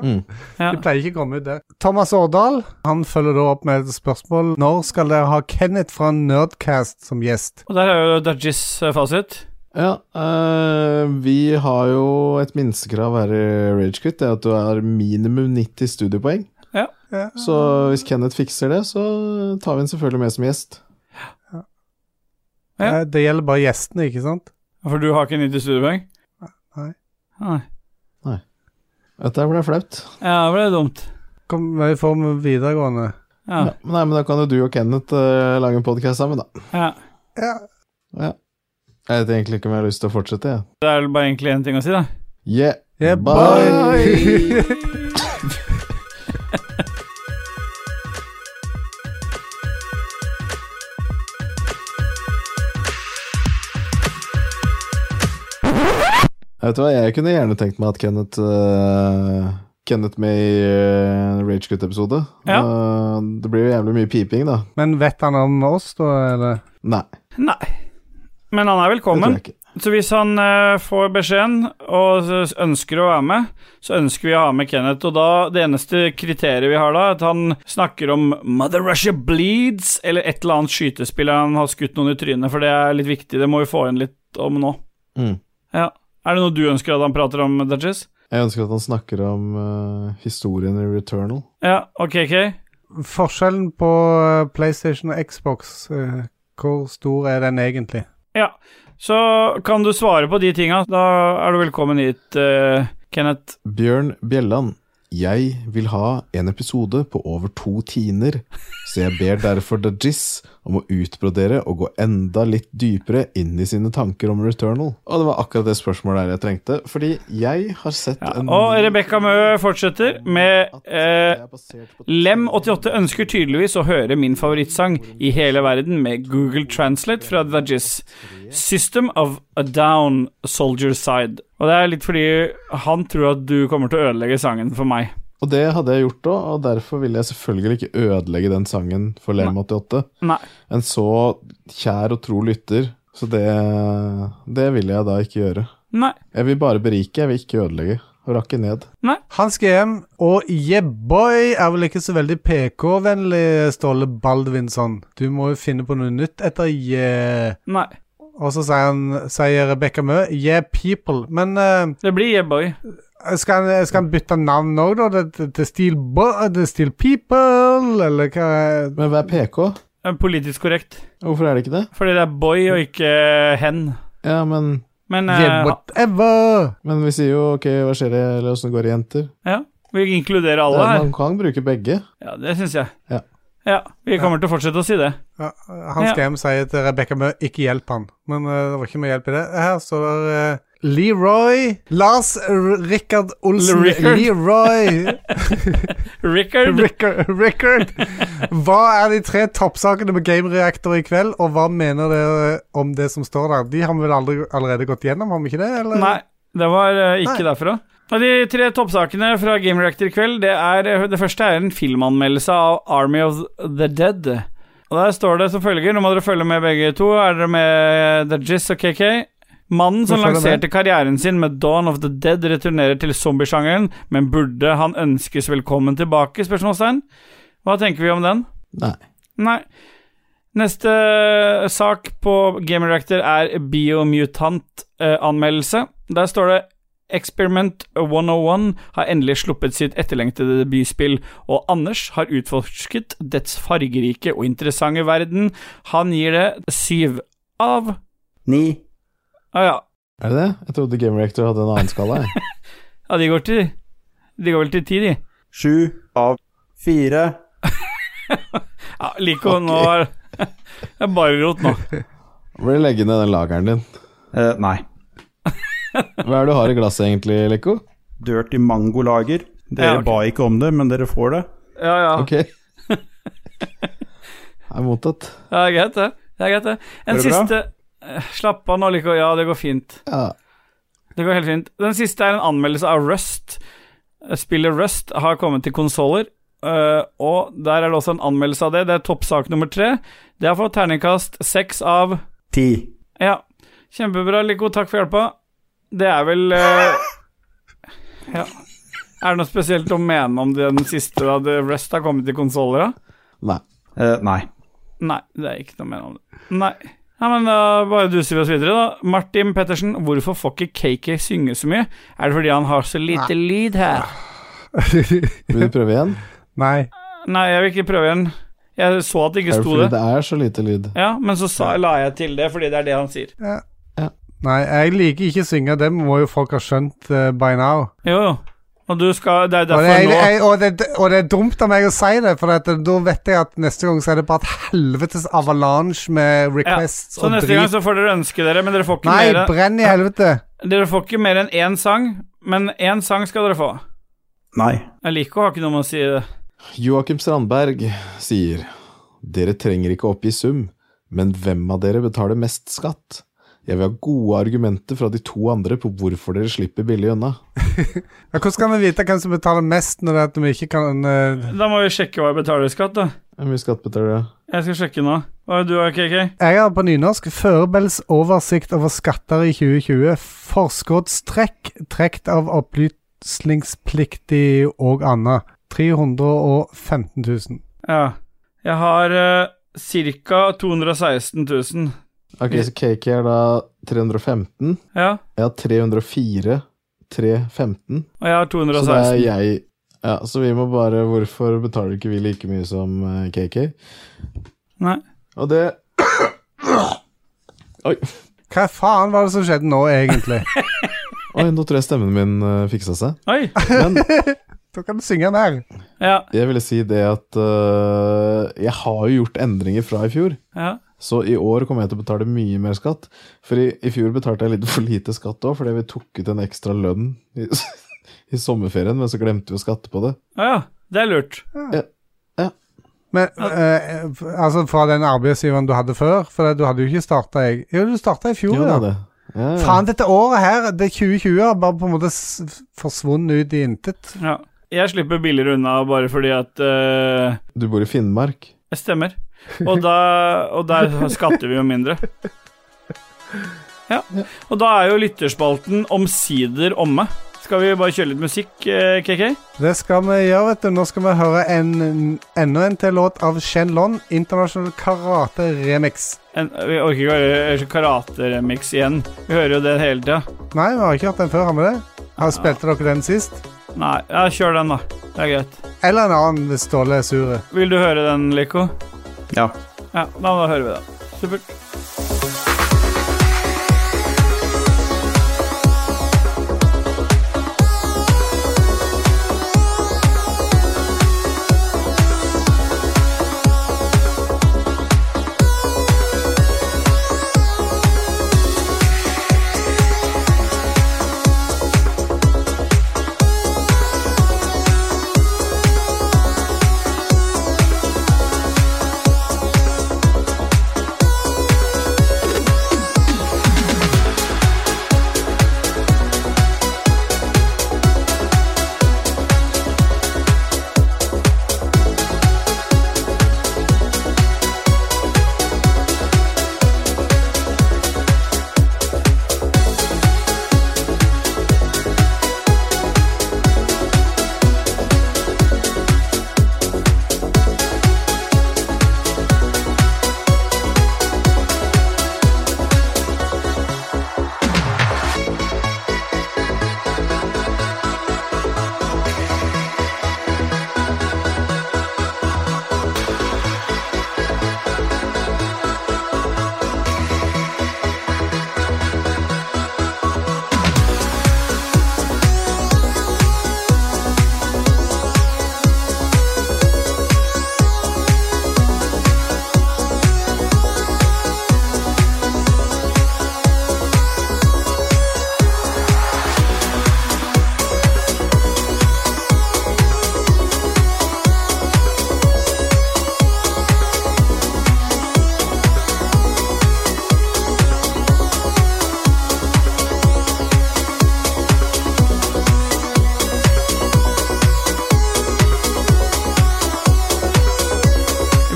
De pleier ikke å komme ut der. Thomas Årdal han følger da opp med et spørsmål. Når skal dere ha Kenneth fra Nerdcast som gjest?
Og der er jo Dajis eh, fasit.
Ja, eh, vi har jo et minstekrav her i Ragequit. Det er at du har minimum 90 studiepoeng.
Ja.
Ja.
Så hvis Kenneth fikser det, så tar vi han selvfølgelig med som gjest.
Ja.
Eh, Det gjelder bare gjestene, ikke sant?
For du har ikke 90 studiepoeng?
Nei.
Nei.
Dette ble flaut.
Ja, det ble dumt.
Kom, vi får med videregående.
Ja.
Ja, Nei, men da kan jo du og Kenneth eh, lage en podkast sammen, da.
ja.
Ja.
Ja. Jeg vet egentlig ikke om jeg har lyst til å fortsette, jeg.
Det er vel bare egentlig én ting å si, da.
Yeah.
Yeah,
bye. Vet du hva, jeg kunne gjerne tenkt meg at Kenneth eh, Kenneth med i eh, Rage Ragegutt-episode. det blir jo jævlig mye piping, da.
Men vet han om oss, da, eller?
Nei, det
Nei. Men han er
tror
velkommen.
jeg ikke.
Så hvis han eh, får beskjeden og s- ønsker å være med, så ønsker vi å ha med Kenneth. Og da, det eneste kriteriet vi har da, er at han snakker om Mother Russia Bleeds, eller et eller annet skytespill der han har skutt noen i trynet, for det er litt viktig. Det må vi få inn litt om nå.
Mm.
Ja. Er det noe du ønsker at han prater om, Dutches?
Jeg ønsker at han snakker om eh, historien i Returnal.
Ja, OK, OK.
Forskjellen på eh, PlayStation og Xbox, eh, hvor stor er den egentlig?
Så kan du svare på de tinga. Da er du velkommen hit, eh, Kenneth.
Bjørn Bjelland. Jeg vil ha en episode på over to timer, så jeg ber derfor Dajis om å utbrodere og gå enda litt dypere inn i sine tanker om Returnal. Og det var akkurat det spørsmålet der jeg trengte, fordi jeg har sett
Ja.
en
Og Rebekka Mø fortsetter med
At det
eh,
er basert på-
Lem88 ønsker tydeligvis å høre min favorittsang i hele verden med Google Translate fra The Jizz. System of a Down, Soldier Side. Og det er litt fordi han tror at du kommer til å ødelegge sangen for meg.
Og det hadde jeg gjort òg, og derfor ville jeg selvfølgelig ikke ødelegge den sangen for Lem88.
Nei.
En så kjær og tro lytter, så det, det vil jeg da ikke gjøre.
Nei.
Jeg vil bare berike, jeg vil ikke ødelegge. Og rakke ned.
Hans GM og Jeboy er vel ikke så veldig PK-vennlig, Ståle Baldvinsson. Du må jo finne på noe nytt etter Je...
Nei.
Og så sier, han- sier Rebekka Mø Je people. Men eh,
Det blir yeah, boy.
skal, han, skal han bytte navn nå, da? Det- det- Til Steel, Bo- til Steel People, eller hva? er-
Men hva er PK?
Eh, Politisk korrekt.
Hvorfor er det ikke det?
Fordi det er boy og ikke hen.
Ja, men,
Men
Yeah,
eh,
whatever!
men vi sier jo ok, hva skjer det, eller åssen går det, jenter?
vi inkluderer
Det
alle
er-
her.
Man kan bruke begge.
Ja, det syns jeg.
Ja.
ja. Vi kommer til å fortsette å si det.
Ja, Hans
Ja.
GM sier til Rebekka Mø ikke hjelp han. Men eh, det var ikke mye hjelp i det. Her står det eh, Leroy Lars R Rikard Olsen
Le- Rickard.
Leroy
Richard.
Rickard, Rickard. Hva er de tre toppsakene med Game Reactor i kveld, og hva mener dere om det som står der? De har vi vel aldri, allerede gått gjennom, har vi ikke det? Eller?
Nei, det var eh, ikke
Nei.
derfra. Og de tre toppsakene fra Game Reactor i kveld, det, er, eh, det første er en filmanmeldelse av Army of the Dead. Og der står det som følger, nå må dere følge med begge to. Er dere med eh, The Jizz og KK? Mannen som
Nå følger jeg
lanserte karrieren sin med Dawn of the Dead, returnerer til zombiesjangeren, men burde han ønskes velkommen tilbake? Spørsmålstegn. Hva tenker vi om den?
Nei.
Nei. Neste eh, sak på Game Reactor er Biomutant-anmeldelse. Der står det Experiment 101 har endelig sluppet sitt etterlengtede debutspill, og Anders har utforsket dets fargerike og interessante verden. Han gir det syv av
Ni.
Å ah, ja.
Er det det? Jeg trodde Game Reactor hadde en annen skala. Jeg.
ja, de går til De går vel til ti, de.
Sju av fire.
Ja, Lico, nå er Det er bare rot nå.
Bør du legge ned den lageren din.
Eh, nei.
Hva er det du har i glasset egentlig, Leko?
Dirty mangolager. Dere
Ja, ok.
ba ikke om det, men dere får det.
Ja, ja.
Ok. Det er mottatt.
Ja, det er greit, det. Det er greit, det. En
Går det bra?
siste Eh, Slapp av nå, Lico. Ja, det går fint.
Ja.
Det går helt fint. Den siste er en anmeldelse av Rust. Eh, Spillet Rust har kommet til konsoller, eh, og der er det også en anmeldelse av det. Det er toppsak nummer tre. Det har fått terningkast seks av
Ti.
Ja, kjempebra, Lico. Takk for hjelpa. Det er vel eh, Ja. Er det noe spesielt å mene om den siste, da? Det- Rust har kommet til konsoller, da?
Nei.
Eh, nei.
Nei, det er ikke noe mer om det. Nei. Ja, men da bare duser vi oss videre, da. Martin Pettersen, hvorfor får ikke KK synge så mye? Er det fordi han har så lite lyd her?
Vil du prøve igjen?
Nei.
Nei, jeg vil ikke prøve igjen. Jeg så at det ikke
Er det
sto
fordi
det.
det er så lite lyd?
Ja, men så sa, la jeg til det, fordi det er det han sier.
Nei, jeg liker ikke å synge, det må jo folk ha skjønt eh, by now.
Jo, jo. Og du skal, det er
Og det,
derfor
er-
nå
jeg, og, det, og det er dumt av meg å si det, for at, eh, da vet jeg at neste gang så er det bare et helvetes avalanche
ja.
med requests
Så
og
neste gang
drit.
så får dere ønske dere, men dere får ikke,
Nei,
mer,
brenn i helvete!
dere får ikke mer enn én sang. Men én sang skal dere få.
Nei.
Jeg liker å ha ikke noe med å si det.
Joakim Strandberg sier Dere trenger ikke å oppgi sum, men hvem av dere betaler mest skatt? Jeg vil ha gode argumenter fra de to andre på hvorfor dere slipper billig unna.
Ja, hvordan kan vi vite hvem som betaler mest når det er at vi ikke kan eh,
Da må vi sjekke hva jeg betaler i skatt, da.
Hvor mye skatt betaler du?
Jeg skal sjekke nå. Hva er du, KK?
Jeg har på nynorsk Førebels oversikt over skatter i 2020. Forskuddstrekk trukket av opplysningspliktig og annet. 315 000.
Ja. Jeg har uh, ca. 216 000.
Ok, så KK er da 315.
Ja.
Jeg har 304. 315.
Og jeg har
Så det er
216.
jeg Ja, så vi må bare Hvorfor betaler ikke vi like mye som eh, KK?
Nei.
Og det Oi.
Hva faen var det som skjedde nå, egentlig?
Oi, nå tror jeg stemmen min eh, fiksa seg.
Oi!
Men
da kan du synge mer.
Ja.
Jeg ville si det at øh, jeg har jo gjort endringer fra i fjor.
ja.
Så i år kommer jeg til å betale mye mer skatt. For i, i fjor betalte jeg litt for lite skatt òg, fordi vi tok ut en ekstra lønn i, i sommerferien, men så glemte vi å skatte på det.
Å ja. Det er lurt.
Men eh, altså fra den arbeidsgiveren du hadde før? For du hadde jo ikke starta, jeg. Jo, du starta i fjor,
Jo, da,
ja.
det. Ja, ja.
Faen, dette året her, det 2020, har bare på en måte s forsvunnet ut i intet.
Ja. Jeg slipper billigere unna bare fordi at eh,
Du bor i Finnmark.
jeg stemmer. Og, da, og der skatter vi jo mindre. Ja. Og da er jo lytterspalten omsider omme. Skal vi bare kjøre litt musikk, eh, KK?
Det skal vi gjøre, vet du. Nå skal vi høre en, enda en til låt av Shenlon, International Karate Remix.
En, vi orker ikke å høre karateremix igjen. Vi hører jo det hele tida.
Nei, vi har ikke hørt den før, har vi det? Har Spilte dere den sist?
Nei, ja, kjør den, da. Det er greit.
Eller en annen hvis Ståle er sur.
Vil du høre den, Lico?
Ja.
Ja, da må- hører vi den. Supert.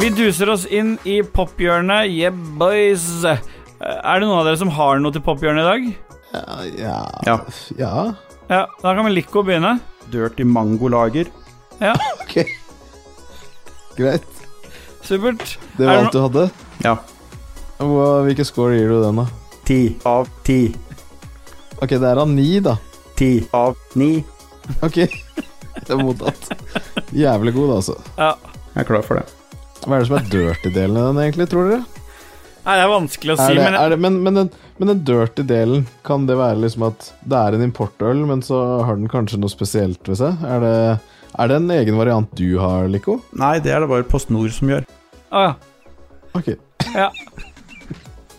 Vi duser oss inn i pophjørnet. Yeah, boys. Eh, Er det noen av dere som har noe til pophjørnet i dag?
Ja, ja.
Ja.
Ja,
Ja, Da kan vel Lico begynne.
Dirty mangolager.
ok. Greit.
Supert.
Det
Er
var
det
alt du hadde.
Ja.
Hva- Hvilken score gir du den, da?
Ti av ti.
Ok, det er av ni, da.
Ti av ni.
Ok. Det er mottatt. Jævlig god, altså.
Ja.
Jeg er klar for det.
Hva er det som er dirty-delen i den, egentlig, tror dere?
Nei, det er vanskelig å si,
Er det,
men jeg,
er det, men, men, den, men den dirty delen, kan det være liksom at det er en importøl, men så har den kanskje noe spesielt ved seg? Er det, er det en egen variant du har, Lico?
Nei, det er det bare Post Nord som gjør.
Å, Ah, ja.
Ok.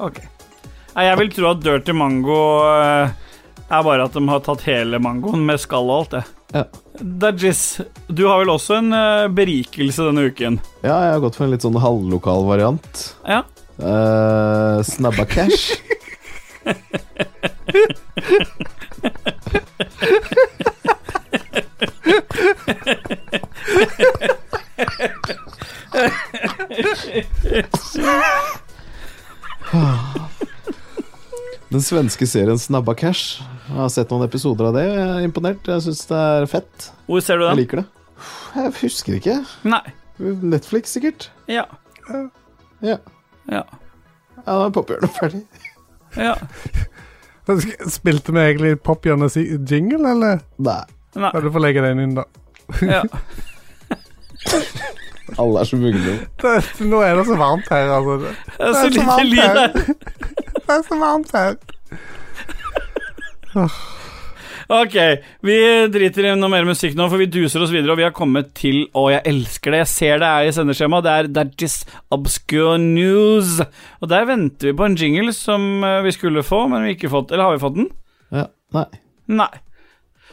Ok. Nei, jeg vil tro at Dirty Mango eh, er bare at de har tatt hele mangoen med skall og alt det.
Ja.
Dajis, du har vel også en eh, berikelse denne uken?
Ja, jeg har gått for en litt sånn halvlokal variant.
Ja.
Eh, snabba cash. Den svenske serien Snabba cash. Jeg har sett noen episoder av det. og Jeg er imponert. Jeg syns det er fett.
Hvor ser du
Jeg
den?
liker det. Jeg husker ikke.
Nei.
Netflix, sikkert.
Ja.
Ja.
Ja.
Ja, da er pophjørnet ferdig.
Ja.
Spilte vi egentlig pophjørnet si jingle, eller?
Nei.
Nei.
Ja, du får legge den inn, da.
Ja.
Alle er så mugnende.
Det, nå er det så varmt her, altså.
Det er så
Det er så
lite
varmt
lyd
her.
der.
Det er så varmt her.
Ok, vi driter i noe mer musikk nå, for vi duser oss videre, og vi har kommet til Å, jeg elsker det. Jeg ser det er i sendeskjemaet. Det er That is Obscure News. Og der venter vi på en jingle som eh, vi skulle få, men vi ikke fått. Eller har vi fått den?
Ja. Nei.
Nei.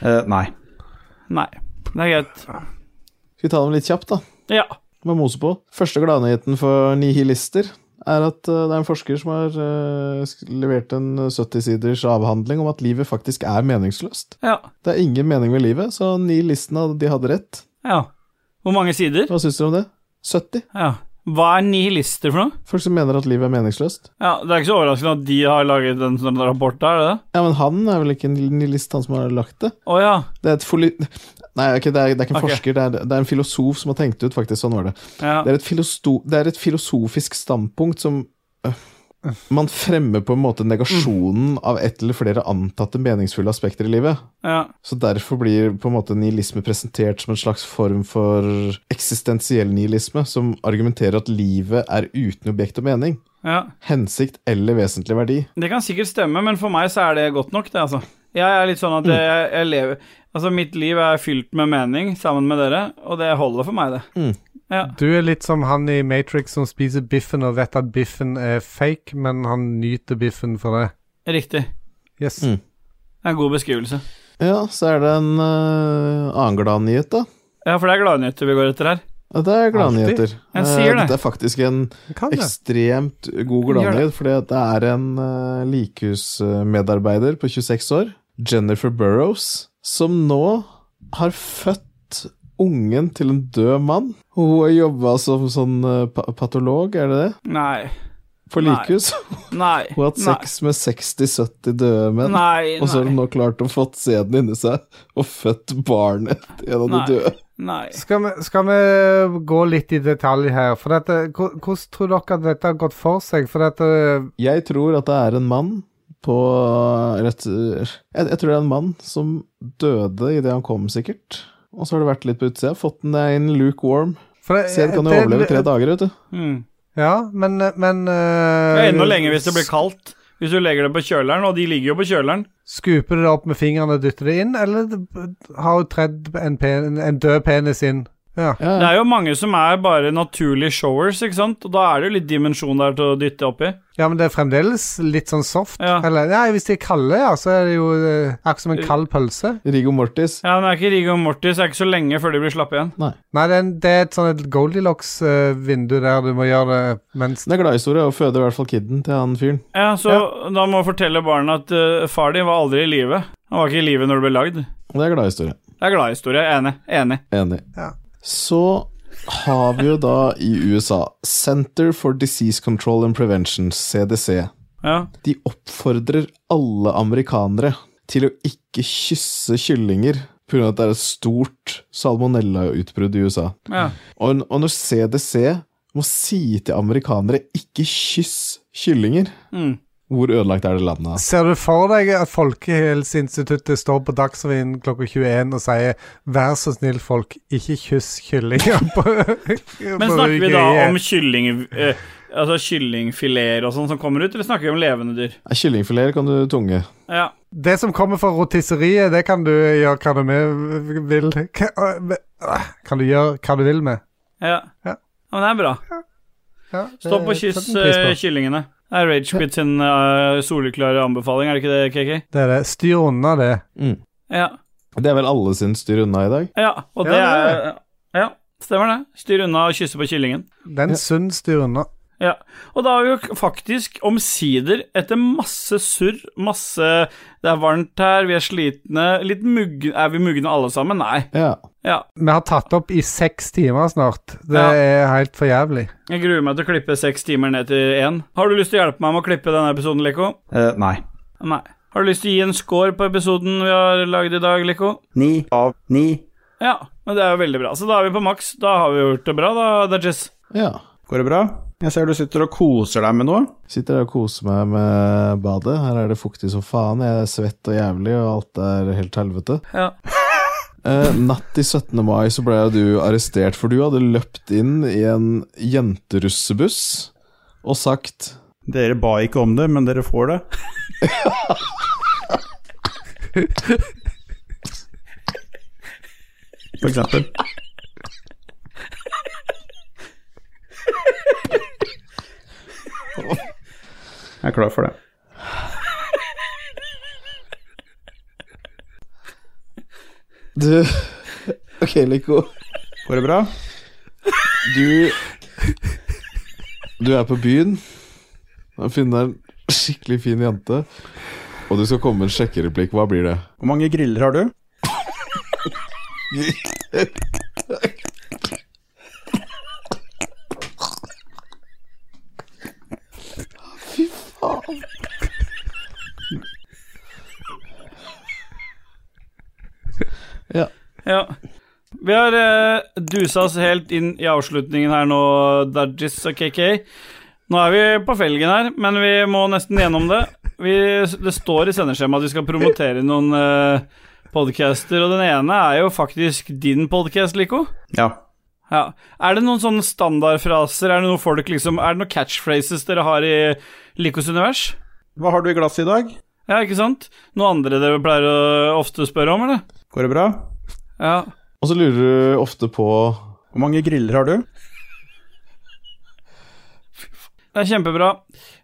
Eh, nei.
Nei. Det er greit.
Skal vi ta dem litt kjapt, da?
Ja.
Med mose på. Første gladnyheten for nihilister er at eh, det er en forsker som har eh, sk- levert en 70-siders avhandling om at livet faktisk er meningsløst.
Ja.
Det er ingen mening med livet, så nihilistene de hadde rett.
Ja. Hvor mange sider?
Hva syns dere om det? 70?
Ja. Hva er nihilister for noe?
Folk som mener at livet er meningsløst.
Ja, Det er ikke så overraskende at de har laget en sånn rapport, er det det?
Ja, men han er vel ikke en nihilist, han som har lagt det?
Å ja.
Det er et foli... Nei, ok, det er, det er ikke en
Ok.
forsker, det er, det er en filosof som har tenkt ut, faktisk. Sånn var det.
ja.
Det er, et filosto- det er et filosofisk standpunkt som øh, man fremmer på en måte
Mm.
negasjonen av ett eller flere antatte meningsfulle aspekter i livet.
ja.
Så derfor blir på en måte nihilisme presentert som en slags form for eksistensiell nihilisme, som argumenterer at livet er uten objekt og mening,
ja.
hensikt eller vesentlig verdi.
Det kan sikkert stemme, men for meg så er det godt nok, det, altså. Jeg er litt sånn at jeg, jeg lever Altså, mitt liv er fylt med mening sammen med dere, og det holder for meg, det.
Mm.
Du er litt som han i Matrix som spiser biffen og vet at biffen er fake, men han nyter biffen for det.
Riktig.
Yes.
Mm.
Det er en god beskrivelse.
Ja, så er det en øh, annen gladnyhet, da.
Ja, for det er gladnyheter vi går etter her.
Ja, Det er gladnyheter.
Jeg
Eh,
sier det.
Dette er faktisk en
Kan det.
ekstremt god
Sånn, Gjør
gladnyhet, fordi at det er en eh, likhusmedarbeider på 26 år, Jennifer Burrows, som nå har født ungen til en død mann. Hun har jobba som sånn eh, pa- patolog, er det det?
Nei.
På
Nei.
likhus.
Nei.
Hun har hatt
Nei.
sex med 60-70 døde menn.
Nei,
Og så har
nei,
hun nå klart å fått sæden inni seg og født barnet til en av de
Nei.
døde.
nei.
Skal vi, skal vi gå litt i detalj her? For dette, hvor- hvordan tror dere at dette har gått for seg? For eh, dette
Jeg tror at det er en mann på eh, rett, jeg, jeg tror det er en mann som døde idet han kom, sikkert. Og så har det vært litt på utsida. Fått den der inn lukewarm.
for det,
Sæd kan jo
det-
overleve tre dager, vet du.
Mm.
Ja, men, eh, men
Det
eh,
er enda lenger hvis det blir kaldt. Hvis du legger det på kjøleren, og de ligger jo på kjøleren.
Skuper du det opp med fingrene og dytter det inn, eller har hun tredd en, pen, en død penis inn? Ja.
Ja,
Det er jo mange som er bare naturlige showers, ikke sant, og da er det jo litt dimensjon der til å dytte oppi.
ja, men det er fremdeles litt sånn soft.
Ja.
Eller nei, hvis de er kalde, ja, så er det jo eh, akkurat som en kald pølse.
Riggo mortis.
Ja, men det er ikke Riggo Mortis, det er ikke så lenge før de blir slappe igjen.
Nei, det er, en, det er et sånn et Goldilocks-vindu der du må gjøre det mens
Det er gladhistorie, og føder i hvert fall kiden til han fyren.
Ja, så da må jeg fortelle barna at eh, far din var aldri i live. Han var ikke i live når det ble lagd.
Det er gladhistorie.
Det er gladhistorie. Enig. Enig.
Enig.
Ja.
Så har vi jo da i USA Center for Disease Control and Prevention, CDC.
Ja.
De oppfordrer alle amerikanere til å ikke kysse kyllinger pga. at det er et stort salmonellautbrudd i USA.
ja.
Og, og når CDC må si til amerikanere 'ikke kyss kyllinger',
Mm.
hvor ødelagt er det landet? altså? ass?
Ser du for deg at Folkehelseinstituttet står på Dagsrevyen klokka 21 og sier 'vær så snill, folk, ikke kyss kyllinger på E.
Men snakker vi da om kylling... eh, Altså kyllingfileter og sånn som kommer ut, eller snakker vi om levende dyr?
Nei, Kyllingfileter kan du tunge.
Ja.
Det som kommer fra rotisseriet, det kan du gjøre hva du med vil Hva- øh, med- øh, Kan du gjøre hva du vil med.
Ja.
Ja.
Men det er bra.
Ja, det
Stopp og
setter
kyss
en pris på.
eh, kyllingene. Det er Ragequit sin eh, soleklare anbefaling, er det ikke det, KK?
Det er det. Styr unna det.
Mm.
Ja.
Det er vel alle sin styr unna i dag.
ja. Og
Ja,
det
det
er Ja, stemmer det. Styr unna og kysse på kyllingen.
Det er en sunn styr unna.
Ja, og da har vi jo faktisk omsider, etter masse surr, masse Det er varmt her, vi er slitne, litt mugne Er vi mugne alle sammen? Nei.
Ja.
Ja.
Vi har tatt opp i seks timer snart. Det
Ja.
er helt for jævlig.
Jeg gruer meg til å klippe seks timer ned til én. Har du lyst til å hjelpe meg med å klippe denne episoden, Leko?
Eh, nei.
Nei. Har du lyst til å gi en score på episoden vi har lagd i dag, Leko?
Ni av ni.
Ja, men det er jo veldig bra. Så da er vi på maks. Da har vi gjort det bra, da, Dudges.
ja.
Går det bra? Jeg ser du sitter og koser deg med noe.
Sitter der og koser meg med badet. Her er det fuktig som faen. Jeg er svett og jævlig, og alt er helt helvete.
Ja.
Eh, natt til 17. mai så ble jo du arrestert, for du hadde løpt inn i en jenterussebuss og sagt
Dere ba ikke om det, men dere får det. For eksempel. Jeg er klar for det.
Du Ok, Lico.
Går det bra?
Du Du er på byen og finner en skikkelig fin jente, og du skal komme med en sjekkereplikk. Hva blir det?
Hvor mange griller har du?
ja. Vi har eh, dusa oss helt inn i avslutningen her nå, Dudges og KK. Nå er vi på felgen her, men vi må nesten gjennom det. Vi, det står i sendeskjemaet at vi skal promotere noen eh, podcaster, og den ene er jo faktisk din podcast, Lico.
Ja.
Ja. Er det noen sånne standardfraser, er det noe folk liksom Er det noen catchphrases dere har i Licos univers?
Hva har du i glasset i dag?
Ja, ikke sant? Noe andre dere pleier å ofte spørre om, eller?
Går det bra?
Ja.
Og så lurer du ofte på
Hvor mange griller har du?
Det er kjempebra.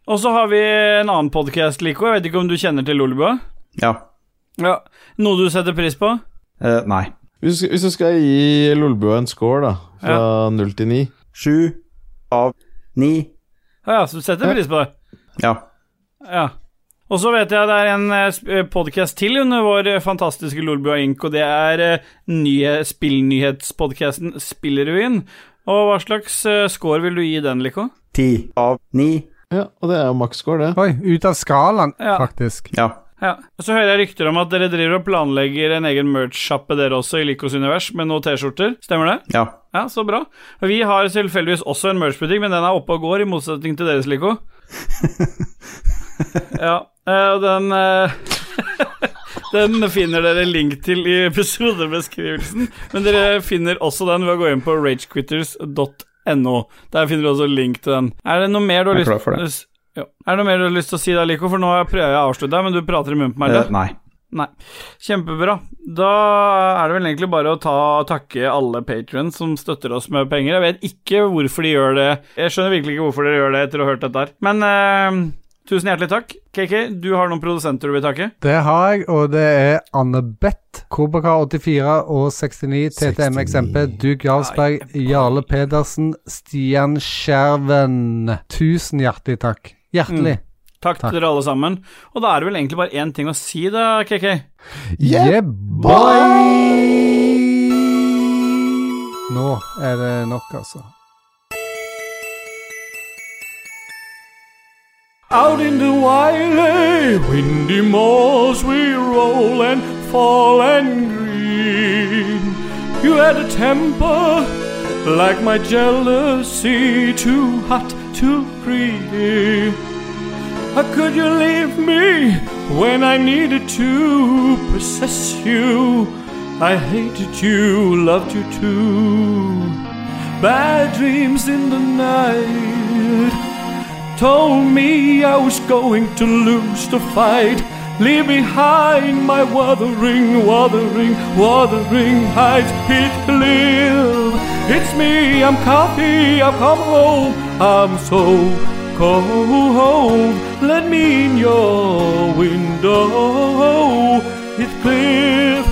Og så har vi en annen podkast, Lico. Jeg vet ikke om du kjenner til Lolebua?
Ja.
Ja. Noe du setter pris på?
Eh, nei.
Hvis du skal, hvis du skal gi Lolbua en score, da, fra null til ni
Sju av
Ni.
Ja, ja, så du setter pris på det?
Ja.
Ja. Og så vet jeg det er en eh, podkast til under vår eh, fantastiske Lolbua Inc., og det er eh, nye spillnyhetspodkasten Spillrevyen. Og hva slags eh, score vil du gi den, Lico?
Ti av ni.
Ja, og det er jo maksscore, det.
Oi, ut av skalaen,
Ja.
faktisk.
Ja.
Ja. Og så hører jeg rykter om at dere driver og planlegger en egen merch-sjappe dere også, i Licos univers, med noen T-skjorter. Stemmer det?
Ja.
Ja, så bra. Og Vi har tilfeldigvis også en merch-butikk, men den er oppe og går, i motsetning til deres, Lico. ja, eh, og den eh, Den finner dere link til i episodebeskrivelsen, men dere finner også den ved å gå inn på ragequitters.no. Der finner dere også link til den. Er det noe mer du har
Jeg er
lyst
klar for det.
s- Ja. Er det noe mer du har lyst til å si da, Lico? For nå har jeg prøvd å avslutte deg, men du prater i munnen på meg.
Eh,
Eller?
nei.
Nei. Kjempebra. Da er det vel egentlig bare å ta, takke alle patrions som støtter oss med penger. Jeg vet ikke hvorfor de gjør det. Jeg skjønner virkelig ikke hvorfor dere gjør det etter å ha hørt dette her. Men eh, tusen hjertelig takk. KK, du har noen produsenter du vil takke.
Det har jeg, og det er Anne-Beth, Kobrakar84 og 69, TTM XMP, Duke Jarlsberg, Jarle Pedersen, Stian Skjerven. Tusen hjertelig takk. Hjertelig.
Takk, til dere alle sammen. Og da er det vel egentlig bare én ting å si, da, KK.
Yeah, boy! Nå er det nok, altså.
Out in the wiley, windy moors we roll and fall and green. You had a temper like my jealousy, too hot, too greedy. How could you leave me when I needed to possess you? I hated you, loved you too. Bad dreams in the night.
Told me I was going to lose the fight. Leave behind my wuthering, wuthering, wuthering heights. It live. It's me, I'm coffee, I've come home. I'm so cold. Let me in your window. It's clear.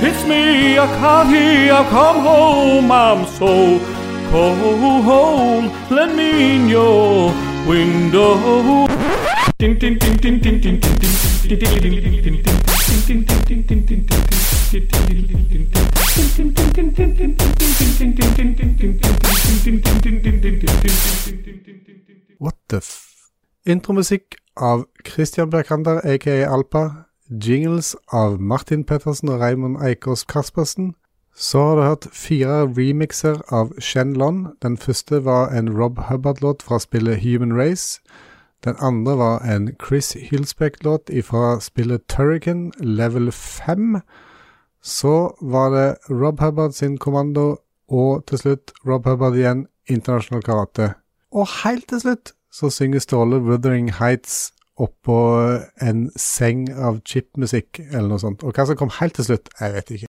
It's me, I can't hear, I've come home, I'm so cold. Let me in your window.
What the f... Intromusikk av Christian Bjerkander, aka Alpa. Jingles av Martin Pettersen og Raymond Eikås Kaspersen. Så har du hørt fire remixer av Shen Lon. Den første var en Rob Hubbard-låt fra spillet Human Race. Den andre var en Chris Hilsbeck-låt fra spillet Turrican Level 5. Så var det Rob Hubbard sin kommando, og til slutt Rob Hubbard igjen, internasjonal karate. Og helt til slutt så synger Ståle Wuthering Heights oppå en seng av chipmusikk eller noe sånt. Og hva som kom helt til slutt, jeg vet ikke.